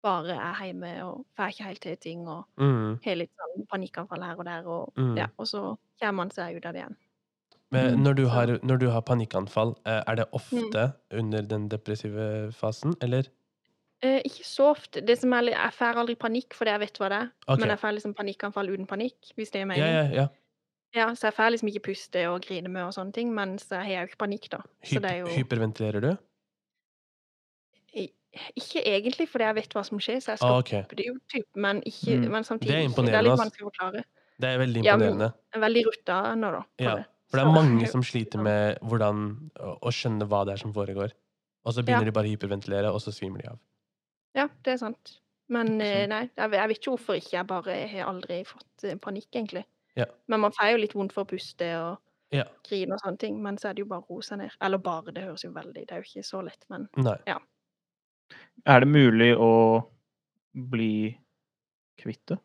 Speaker 3: bare er hjemme og får ikke helt til ting og
Speaker 1: Mm.
Speaker 3: har litt sånn panikkanfall her og der, og
Speaker 1: Mm.
Speaker 3: ja, og så kommer man seg ut av det igjen.
Speaker 1: Men
Speaker 2: Mm.
Speaker 1: når du har, når du har panikkanfall, eh, er det
Speaker 3: Mm.
Speaker 1: ofte under den depressive fasen, eller?
Speaker 3: Eh, ikke så ofte. Det som er, litt- jeg får aldri panikk fordi jeg vet hva det er.
Speaker 1: Ok.
Speaker 3: Men jeg får liksom panikkanfall uten panikk, hvis det er meningen.
Speaker 1: Ja, ja, ja.
Speaker 3: Ja, så jeg får liksom ikke puste og grine med og sånne ting, mens jeg har jo ikke panikk, da. Så
Speaker 1: Hyp
Speaker 3: det er jo
Speaker 1: Hyperventilerer du?
Speaker 3: ikke egentlig fordi jeg vet hva som skjer, så jeg
Speaker 1: Ah,
Speaker 3: stopper
Speaker 1: ok.
Speaker 3: det jo, typ, men, ikke,
Speaker 2: Mm.
Speaker 3: men samtidig ikke. Det
Speaker 1: imponerende,
Speaker 3: er litt
Speaker 1: ass.
Speaker 3: vanskelig å forklare.
Speaker 1: Det er veldig
Speaker 3: Ja, men-
Speaker 1: imponerende.
Speaker 3: Jeg er veldig rutta nå, da. på
Speaker 1: Ja,
Speaker 3: det.
Speaker 1: For det
Speaker 3: Så-
Speaker 1: er mange som sliter med hvordan, å, å skjønne hva det er som foregår. Og så begynner de bare å hyperventilere, og så svimer de av.
Speaker 3: Ja, det er sant. Men
Speaker 2: Ikke
Speaker 3: eh,
Speaker 2: sant?
Speaker 3: nei, jeg, jeg vet ikke hvorfor ikke. Jeg bare har aldri fått eh, panikk, egentlig.
Speaker 1: Ja.
Speaker 3: Men man får jo litt vondt for å puste og
Speaker 1: Ja.
Speaker 3: grine og sånne ting, men så er det jo bare å roe seg ned. Eller bare, det høres jo veldig Det er jo ikke så lett, men
Speaker 1: Nei.
Speaker 2: Er det mulig å bli kvitt det?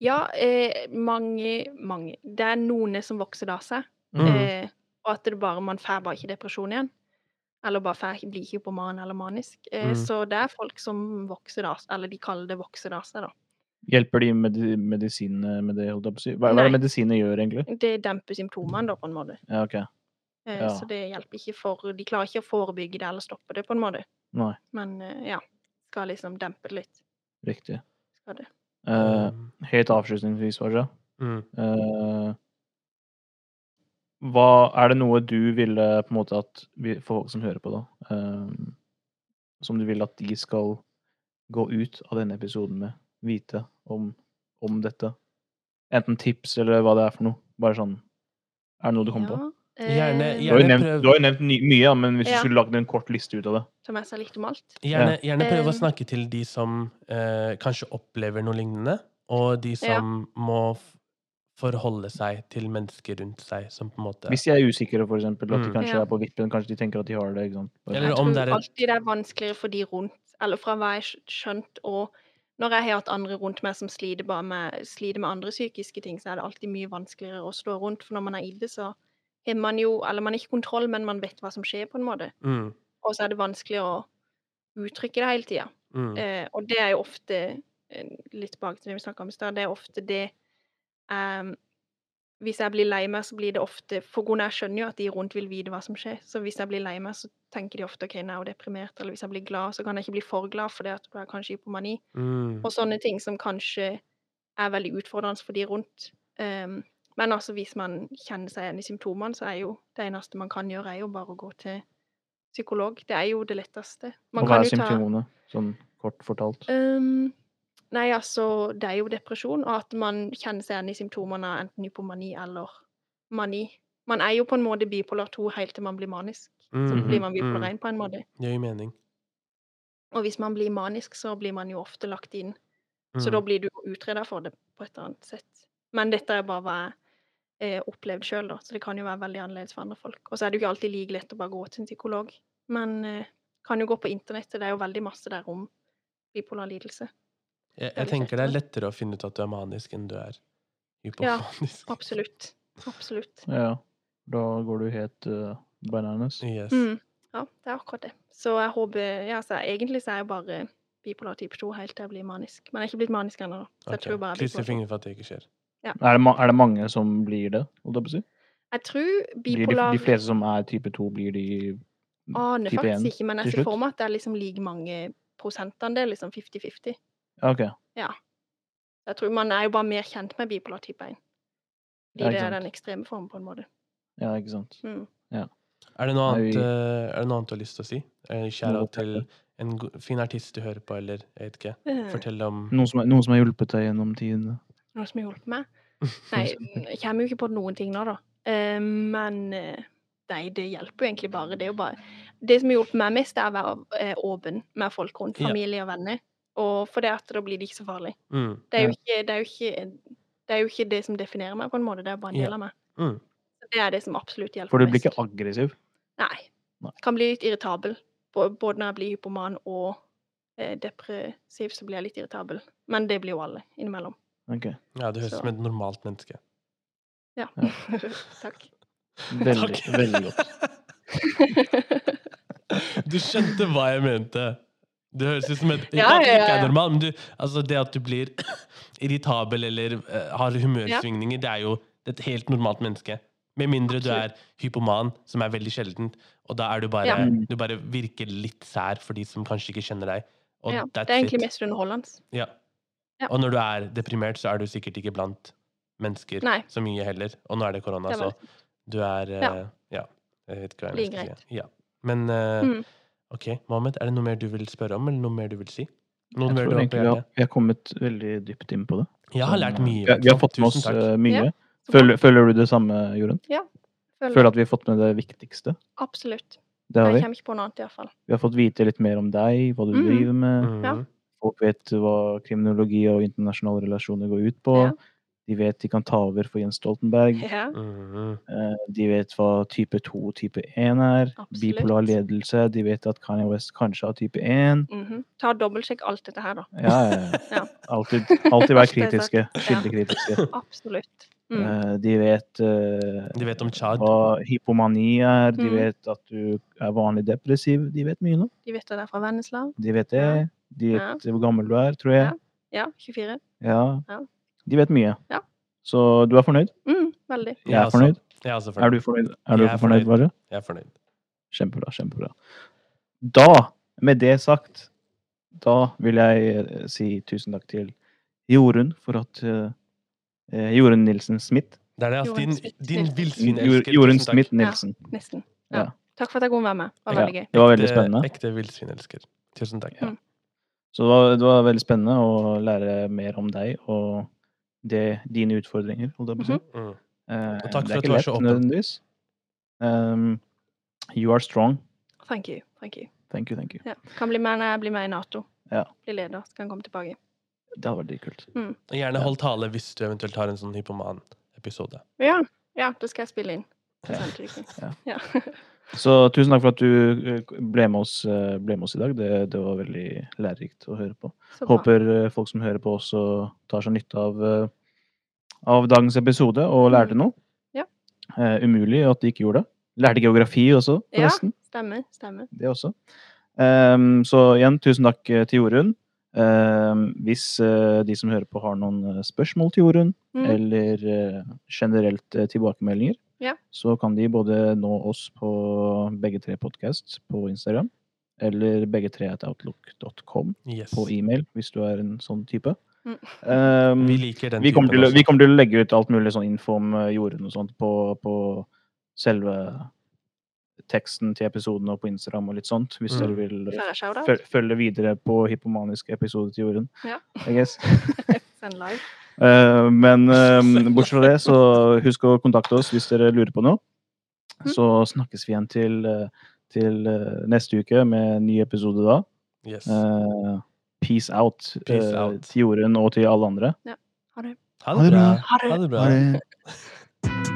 Speaker 3: Ja, eh, mange, mange. Det er noen som vokser det av seg.
Speaker 1: Mm.
Speaker 3: Eh, og at det bare, man får bare ikke depresjon igjen. Eller bare får, ikke- blir hypoman eller manisk. Eh,
Speaker 1: Mm.
Speaker 3: Så det er folk som vokser det av seg, eller de kaller det vokser det av seg, da.
Speaker 2: Hjelper de medi medisinene med det? Holdt jeg på å si? Hva, hva er det
Speaker 3: Nei.
Speaker 2: medisiner gjør, egentlig?
Speaker 3: Det demper symptomene, da, på en måte.
Speaker 2: Ja, ok.
Speaker 3: Eh,
Speaker 2: Ja.
Speaker 3: Så det hjelper ikke for De klarer ikke å forebygge det eller stoppe det, på en måte.
Speaker 2: Nei,
Speaker 3: Men eh, ja, skal liksom dempe det litt.
Speaker 2: riktig.
Speaker 3: Skal det.
Speaker 1: Um,
Speaker 2: Eh, helt avslutningsvis, Varja.
Speaker 1: Mm.
Speaker 2: Eh, Hva, er det noe du ville på en måte at vi, for folk som hører på, da eh, Som du vil at de skal gå ut av denne episoden med? Vite om, om dette? Enten tips eller hva det er for noe. Bare sånn Er det noe du kommer på?
Speaker 1: Gjerne-
Speaker 3: Gjerne,
Speaker 2: Du har jo
Speaker 1: gjerne
Speaker 2: nevnt,
Speaker 1: prøv-
Speaker 2: du har jo nevnt ny, mye, da, men hvis
Speaker 3: Ja.
Speaker 2: du skulle lagd en kort liste ut av det
Speaker 3: Som jeg sa litt om alt.
Speaker 1: Gjerne, gjerne prøve å
Speaker 3: Eh.
Speaker 1: snakke til de som eh, kanskje opplever noe lignende, og de som
Speaker 3: Ja.
Speaker 1: må f- forholde seg til mennesker rundt seg som på en måte
Speaker 2: Hvis de er usikre, for eksempel, at de
Speaker 1: Mm.
Speaker 2: kanskje
Speaker 3: Ja.
Speaker 2: er på vippen, kanskje de tenker at de har det ikke sant? Bare-
Speaker 1: Eller
Speaker 3: jeg
Speaker 1: om
Speaker 3: tror
Speaker 1: det er et-
Speaker 3: alltid det er vanskeligere for de rundt, eller fra hva jeg skj- skjønt, og når jeg har hatt andre rundt meg som sliter, bare med, sliter med andre psykiske ting, så er det alltid mye vanskeligere å stå rundt, for når man er i det, så har man jo, eller man har ikke kontroll, men man vet hva som skjer på en måte,
Speaker 1: mm,
Speaker 3: og så er det vanskelig å uttrykke det hele tiden.
Speaker 1: mm,
Speaker 3: Eh, og det er jo ofte, eh, litt tilbake til det vi snakket om i stad, det er ofte det ehm, Hvis jeg blir lei meg, så blir det ofte For Gunnar skjønner jo at de rundt vil vite hva som skjer. Så hvis jeg blir lei meg, så tenker de ofte OK, nå er hun deprimert. Eller hvis jeg blir glad, så kan jeg ikke bli for glad, for det at du er kanskje hypomani.
Speaker 1: mm.
Speaker 3: Og sånne ting som kanskje er veldig utfordrende for de rundt. Ehm, men altså, hvis man kjenner seg igjen i symptomene, så er jo det eneste man kan gjøre, er jo bare å gå til psykolog. Det er jo det letteste. Man
Speaker 2: Og hva
Speaker 3: kan
Speaker 2: er
Speaker 3: jo ta
Speaker 2: symptomene, sånn kort fortalt?
Speaker 3: Ehm, nei, altså, det er jo depresjon, og at man kjenner seg igjen i symptomene av enten hypomani eller mani. Man er jo på en måte bipolar 2 helt til man blir manisk. Så
Speaker 1: Mm,
Speaker 3: blir man
Speaker 1: mm,
Speaker 3: bipolar 1 på en måte.
Speaker 1: Det gir jo mening.
Speaker 3: Og hvis man blir manisk, så blir man jo ofte lagt inn. Så
Speaker 1: Mm.
Speaker 3: da blir du utreda for det på et eller annet sett. Men dette er bare hva jeg eh, opplevde sjøl, da. Så det kan jo være veldig annerledes for andre folk. Og så er det jo ikke alltid like lett å bare gå til en psykolog. Men eh, kan jo gå på internettet, det er jo veldig masse der om bipolar lidelse.
Speaker 1: jeg,
Speaker 3: er
Speaker 1: jeg
Speaker 3: litt
Speaker 1: tenker det er
Speaker 3: lettere.
Speaker 1: lettere å finne ut at du er manisk enn du er
Speaker 3: Ja,
Speaker 1: hypofonisk.
Speaker 3: Absolutt. Absolutt.
Speaker 2: Ja, da går du helt eh, bananas.
Speaker 1: Yes.
Speaker 3: Mm. Ja, det er akkurat det. Så jeg håper ja, så Egentlig så er jeg bare bipolar type 2 helt til jeg blir manisk. Men jeg er ikke blitt manisk ennå. da. Så jeg
Speaker 1: Ok,
Speaker 3: tror bare jeg er
Speaker 1: Krysser
Speaker 3: bipolar.
Speaker 1: fingrene for at det ikke skjer.
Speaker 2: Er det, ma er det mange som blir det? holdt jeg på å si?
Speaker 3: Jeg tror
Speaker 2: Blir de,
Speaker 3: bipolar
Speaker 2: de fleste som er type 2, blir de
Speaker 3: aner
Speaker 2: type
Speaker 3: faktisk
Speaker 2: 1
Speaker 3: ikke, men
Speaker 2: til
Speaker 3: jeg ser
Speaker 2: slutt?
Speaker 3: for meg at det er liksom like mange prosentandel, liksom 50-50.
Speaker 2: Ja, OK.
Speaker 3: Jeg tror Man er jo bare mer kjent med bipolar type 1.
Speaker 2: Ja,
Speaker 3: Fordi det
Speaker 2: ikke
Speaker 3: er
Speaker 2: sant.
Speaker 3: den ekstreme formen, på en måte.
Speaker 2: Ja, ikke sant.
Speaker 3: Mm.
Speaker 1: Er det noe
Speaker 2: Nei,
Speaker 1: annet,
Speaker 2: vi-
Speaker 1: eh, er det noe annet du har lyst til å si? Eh, Kjære
Speaker 2: Noe
Speaker 1: til en go- fin artist du hører på, eller jeg vet ikke.
Speaker 3: Eh,
Speaker 1: Fortell om
Speaker 2: Noen som, er- noen som har hjulpet deg gjennom tidene?
Speaker 3: Noe som har hjulpet meg? Nei, mm, jeg kommer jo ikke på noen ting nå, da. Eh, men eh, nei, det hjelper jo egentlig bare. Det, er jo bare. det som har hjulpet meg mest, er å være eh, åpen med folk rundt.
Speaker 1: Ja.
Speaker 3: Familie og venner. Og for det at da blir det ikke så farlig.
Speaker 1: mm,
Speaker 3: Det er
Speaker 2: Ja.
Speaker 3: jo ikke det, er jo ikke, det, er jo ikke det som definerer meg, på en måte. Det er bare en
Speaker 1: Ja.
Speaker 3: del av meg.
Speaker 1: Mm.
Speaker 3: Så Det er det som absolutt hjelper
Speaker 2: For du blir ikke aggressiv?
Speaker 3: Nei.
Speaker 2: Nei.
Speaker 3: Kan bli litt irritabel. Bå- Både når jeg blir hypoman og eh, depressiv, så blir jeg litt irritabel. Men det blir jo alle innimellom.
Speaker 2: Ok.
Speaker 1: Ja, du høres
Speaker 3: Så-
Speaker 1: ut som et normalt menneske.
Speaker 3: Ja.
Speaker 2: Ja.
Speaker 3: Takk.
Speaker 2: Veldig, veldig godt.
Speaker 1: Du skjønte hva jeg mente. Du høres ut som et Ikke
Speaker 3: Ja,
Speaker 1: at du
Speaker 3: ja,
Speaker 1: ikke
Speaker 3: ja,
Speaker 1: er
Speaker 3: ja.
Speaker 1: normal, men du, altså det at du blir irritabel eller eh, har humørsvingninger, det er jo et helt normalt menneske. Med mindre du er
Speaker 3: Absolutt.
Speaker 1: hypoman, som er veldig sjeldent, og da er du bare,
Speaker 3: Ja.
Speaker 1: du bare virker litt sær for de som kanskje ikke kjenner deg. Og
Speaker 3: Ja, det
Speaker 1: that's
Speaker 3: er
Speaker 1: it.
Speaker 3: egentlig mest underholdende.
Speaker 1: Ja.
Speaker 3: Ja.
Speaker 1: Og når du er deprimert, så er du sikkert ikke blant mennesker
Speaker 3: Nei.
Speaker 1: så mye heller. Og nå er det korona,
Speaker 3: Det er
Speaker 2: Altså,
Speaker 1: så
Speaker 3: veldig
Speaker 1: du er eh,
Speaker 3: Ja.
Speaker 1: ja. Jeg vet ikke hva
Speaker 3: Blir
Speaker 1: jeg skal si. Ja. Men eh,
Speaker 3: Mm.
Speaker 1: ok, Mohammed, er det noe mer du vil spørre om, eller noe mer du vil si? Noe
Speaker 2: Jeg
Speaker 1: mer du
Speaker 2: tror
Speaker 1: har på
Speaker 2: egentlig vi har,
Speaker 1: hjertet?
Speaker 2: vi har kommet veldig dypt inn på det.
Speaker 1: Jeg har
Speaker 2: Så,
Speaker 1: lært
Speaker 2: eh,
Speaker 1: mye. i
Speaker 2: Vi har, vi har
Speaker 1: hvert fall.
Speaker 2: fått med
Speaker 1: Tusen
Speaker 2: oss
Speaker 1: takk.
Speaker 2: eh, mye.
Speaker 3: Ja, så bra.
Speaker 2: Føler, føler du det samme, Jorunn?
Speaker 3: Føler-
Speaker 2: Føler at vi har fått med det viktigste?
Speaker 3: Absolutt.
Speaker 2: Det har
Speaker 3: Jeg
Speaker 2: vi.
Speaker 3: kommer ikke på noe annet, iallfall.
Speaker 2: Vi har fått vite litt mer om deg, hva du
Speaker 3: Mhm.
Speaker 2: driver med.
Speaker 1: Mhm.
Speaker 3: Ja.
Speaker 2: Folk vet hva kriminologi og internasjonale relasjoner går ut på.
Speaker 3: Ja.
Speaker 2: De vet de kan ta over for Jens Stoltenberg.
Speaker 3: Ja.
Speaker 1: Mhm.
Speaker 2: Eh, De vet hva type 2 og type 1 er.
Speaker 3: Absolutt.
Speaker 2: Bipolar ledelse. De vet at Kanye West kanskje har type 1.
Speaker 3: Mhm. Ta og Dobbeltsjekk alt dette her, da.
Speaker 2: Ja, ja, ja.
Speaker 3: Ja.
Speaker 2: Alltid, alltid være
Speaker 3: Alt er sagt.
Speaker 2: kritiske. Kildekritiske.
Speaker 3: Absolutt. Mm.
Speaker 2: Eh, De vet eh,
Speaker 1: De vet om Chad.
Speaker 2: hva hypomani er. De
Speaker 3: Mhm.
Speaker 2: vet at du er vanlig depressiv. De vet mye nå.
Speaker 3: De vet at det er fra Vennesla.
Speaker 2: De vet
Speaker 3: Ja.
Speaker 2: det. De
Speaker 3: Ja.
Speaker 2: vet hvor gammel du er, tror jeg.
Speaker 3: Ja, 24.
Speaker 2: Ja.
Speaker 3: Ja.
Speaker 2: De vet mye.
Speaker 3: Ja.
Speaker 2: Så du er fornøyd?
Speaker 3: Mm, veldig.
Speaker 2: Jeg er
Speaker 1: også.
Speaker 2: fornøyd.
Speaker 1: altså. Jeg er også
Speaker 2: Er
Speaker 1: fornøyd.
Speaker 2: du fornøyd? Er du
Speaker 1: Jeg er
Speaker 2: fornøyd,
Speaker 1: fornøyd.
Speaker 2: Bare?
Speaker 1: Jeg er fornøyd.
Speaker 2: Kjempebra, kjempebra. Da, med det sagt, da vil jeg eh, si tusen takk til Jorunn for at eh, eh, Jorunn Nilsen Smith
Speaker 1: Det er det, altså.
Speaker 3: Jorunn
Speaker 1: Din,
Speaker 3: Smith
Speaker 1: din
Speaker 3: Nielsen.
Speaker 1: villsvinelsker.
Speaker 2: Jo- Jorunn
Speaker 1: Tusen takk.
Speaker 2: Smith Nielsen.
Speaker 3: Nesten.
Speaker 2: Ja.
Speaker 3: Ja. Takk for at jeg kom være med. Det var
Speaker 2: Ja.
Speaker 3: veldig gøy.
Speaker 2: Det var veldig
Speaker 1: Ekte-
Speaker 2: spennende.
Speaker 1: Ekte villsvinelsker. Tusen takk.
Speaker 3: Ja.
Speaker 2: Så det var, det var veldig spennende å lære mer om deg og det, dine utfordringer, holdt jeg på å si.
Speaker 1: Mm.
Speaker 2: Eh,
Speaker 1: Og takk
Speaker 2: det
Speaker 1: for
Speaker 2: er
Speaker 1: at
Speaker 2: ikke
Speaker 1: du er
Speaker 2: lett,
Speaker 1: så åpen.
Speaker 2: nødvendigvis. Ehm, you are strong.
Speaker 3: Thank you. Thank you.
Speaker 2: Thank you, thank you.
Speaker 3: Ja. Kan bli med når jeg blir med i Nato.
Speaker 2: Ja.
Speaker 3: Bli leder, så kan jeg komme tilbake.
Speaker 2: Det hadde vært dritkult.
Speaker 1: Og gjerne hold tale hvis du eventuelt har en sånn hypoman-episode.
Speaker 3: Ja, ja det skal jeg spille inn.
Speaker 2: Ja.
Speaker 3: Samtidig.
Speaker 2: Ja.
Speaker 3: Ja.
Speaker 2: Så tusen takk for at du eh, ble med oss, eh, ble med oss i dag. Det, det var veldig lærerikt å høre på.
Speaker 3: Så bra.
Speaker 2: Håper eh, folk som hører på, også tar seg nytte av, eh, av dagens episode og lærte noe.
Speaker 3: Mm. Ja.
Speaker 2: Eh, umulig at de ikke gjorde det. Lærte geografi også,
Speaker 3: Ja.
Speaker 2: forresten.
Speaker 3: Stemmer. Stemmer.
Speaker 2: Det også. Ehm, så igjen, tusen takk eh, til Jorunn. Ehm, hvis eh, de som hører på har noen eh, spørsmål til Jorunn,
Speaker 3: Mm.
Speaker 2: eller eh, generelt eh, tilbakemeldinger,
Speaker 3: Ja.
Speaker 2: så kan de både nå oss på begge tre podkast på Instagram, eller begge tre at outlook.com
Speaker 1: Yes.
Speaker 2: på e-mail, hvis du er en sånn type.
Speaker 3: Mm.
Speaker 2: Ehm,
Speaker 1: Vi liker den
Speaker 2: vi, kommer
Speaker 1: typen
Speaker 2: til, å-
Speaker 1: også.
Speaker 2: vi kommer til å legge ut alt mulig sånn info om eh, Jorunn og sånt på, på selve teksten til episoden og på Instagram og litt sånt, hvis
Speaker 1: Mm.
Speaker 2: dere vil eh,
Speaker 3: Får jeg shout-out?
Speaker 2: føl- følge videre på hypomaniske episoder til Jorunn.
Speaker 3: Ja.
Speaker 2: I guess.
Speaker 3: Send live.
Speaker 2: Eh, men eh, bortsett fra det, så husk å kontakte oss hvis dere lurer på noe.
Speaker 3: Mm.
Speaker 2: Så snakkes vi igjen til, eh, til eh, neste uke med en ny episode da.
Speaker 1: Yes.
Speaker 2: Eh, peace out,
Speaker 1: Peace
Speaker 2: eh,
Speaker 1: out.
Speaker 2: til Jorunn og til alle andre.
Speaker 1: Ha
Speaker 3: Ha
Speaker 1: det
Speaker 3: det
Speaker 1: bra.
Speaker 3: bra.
Speaker 1: Ha det bra.
Speaker 2: det.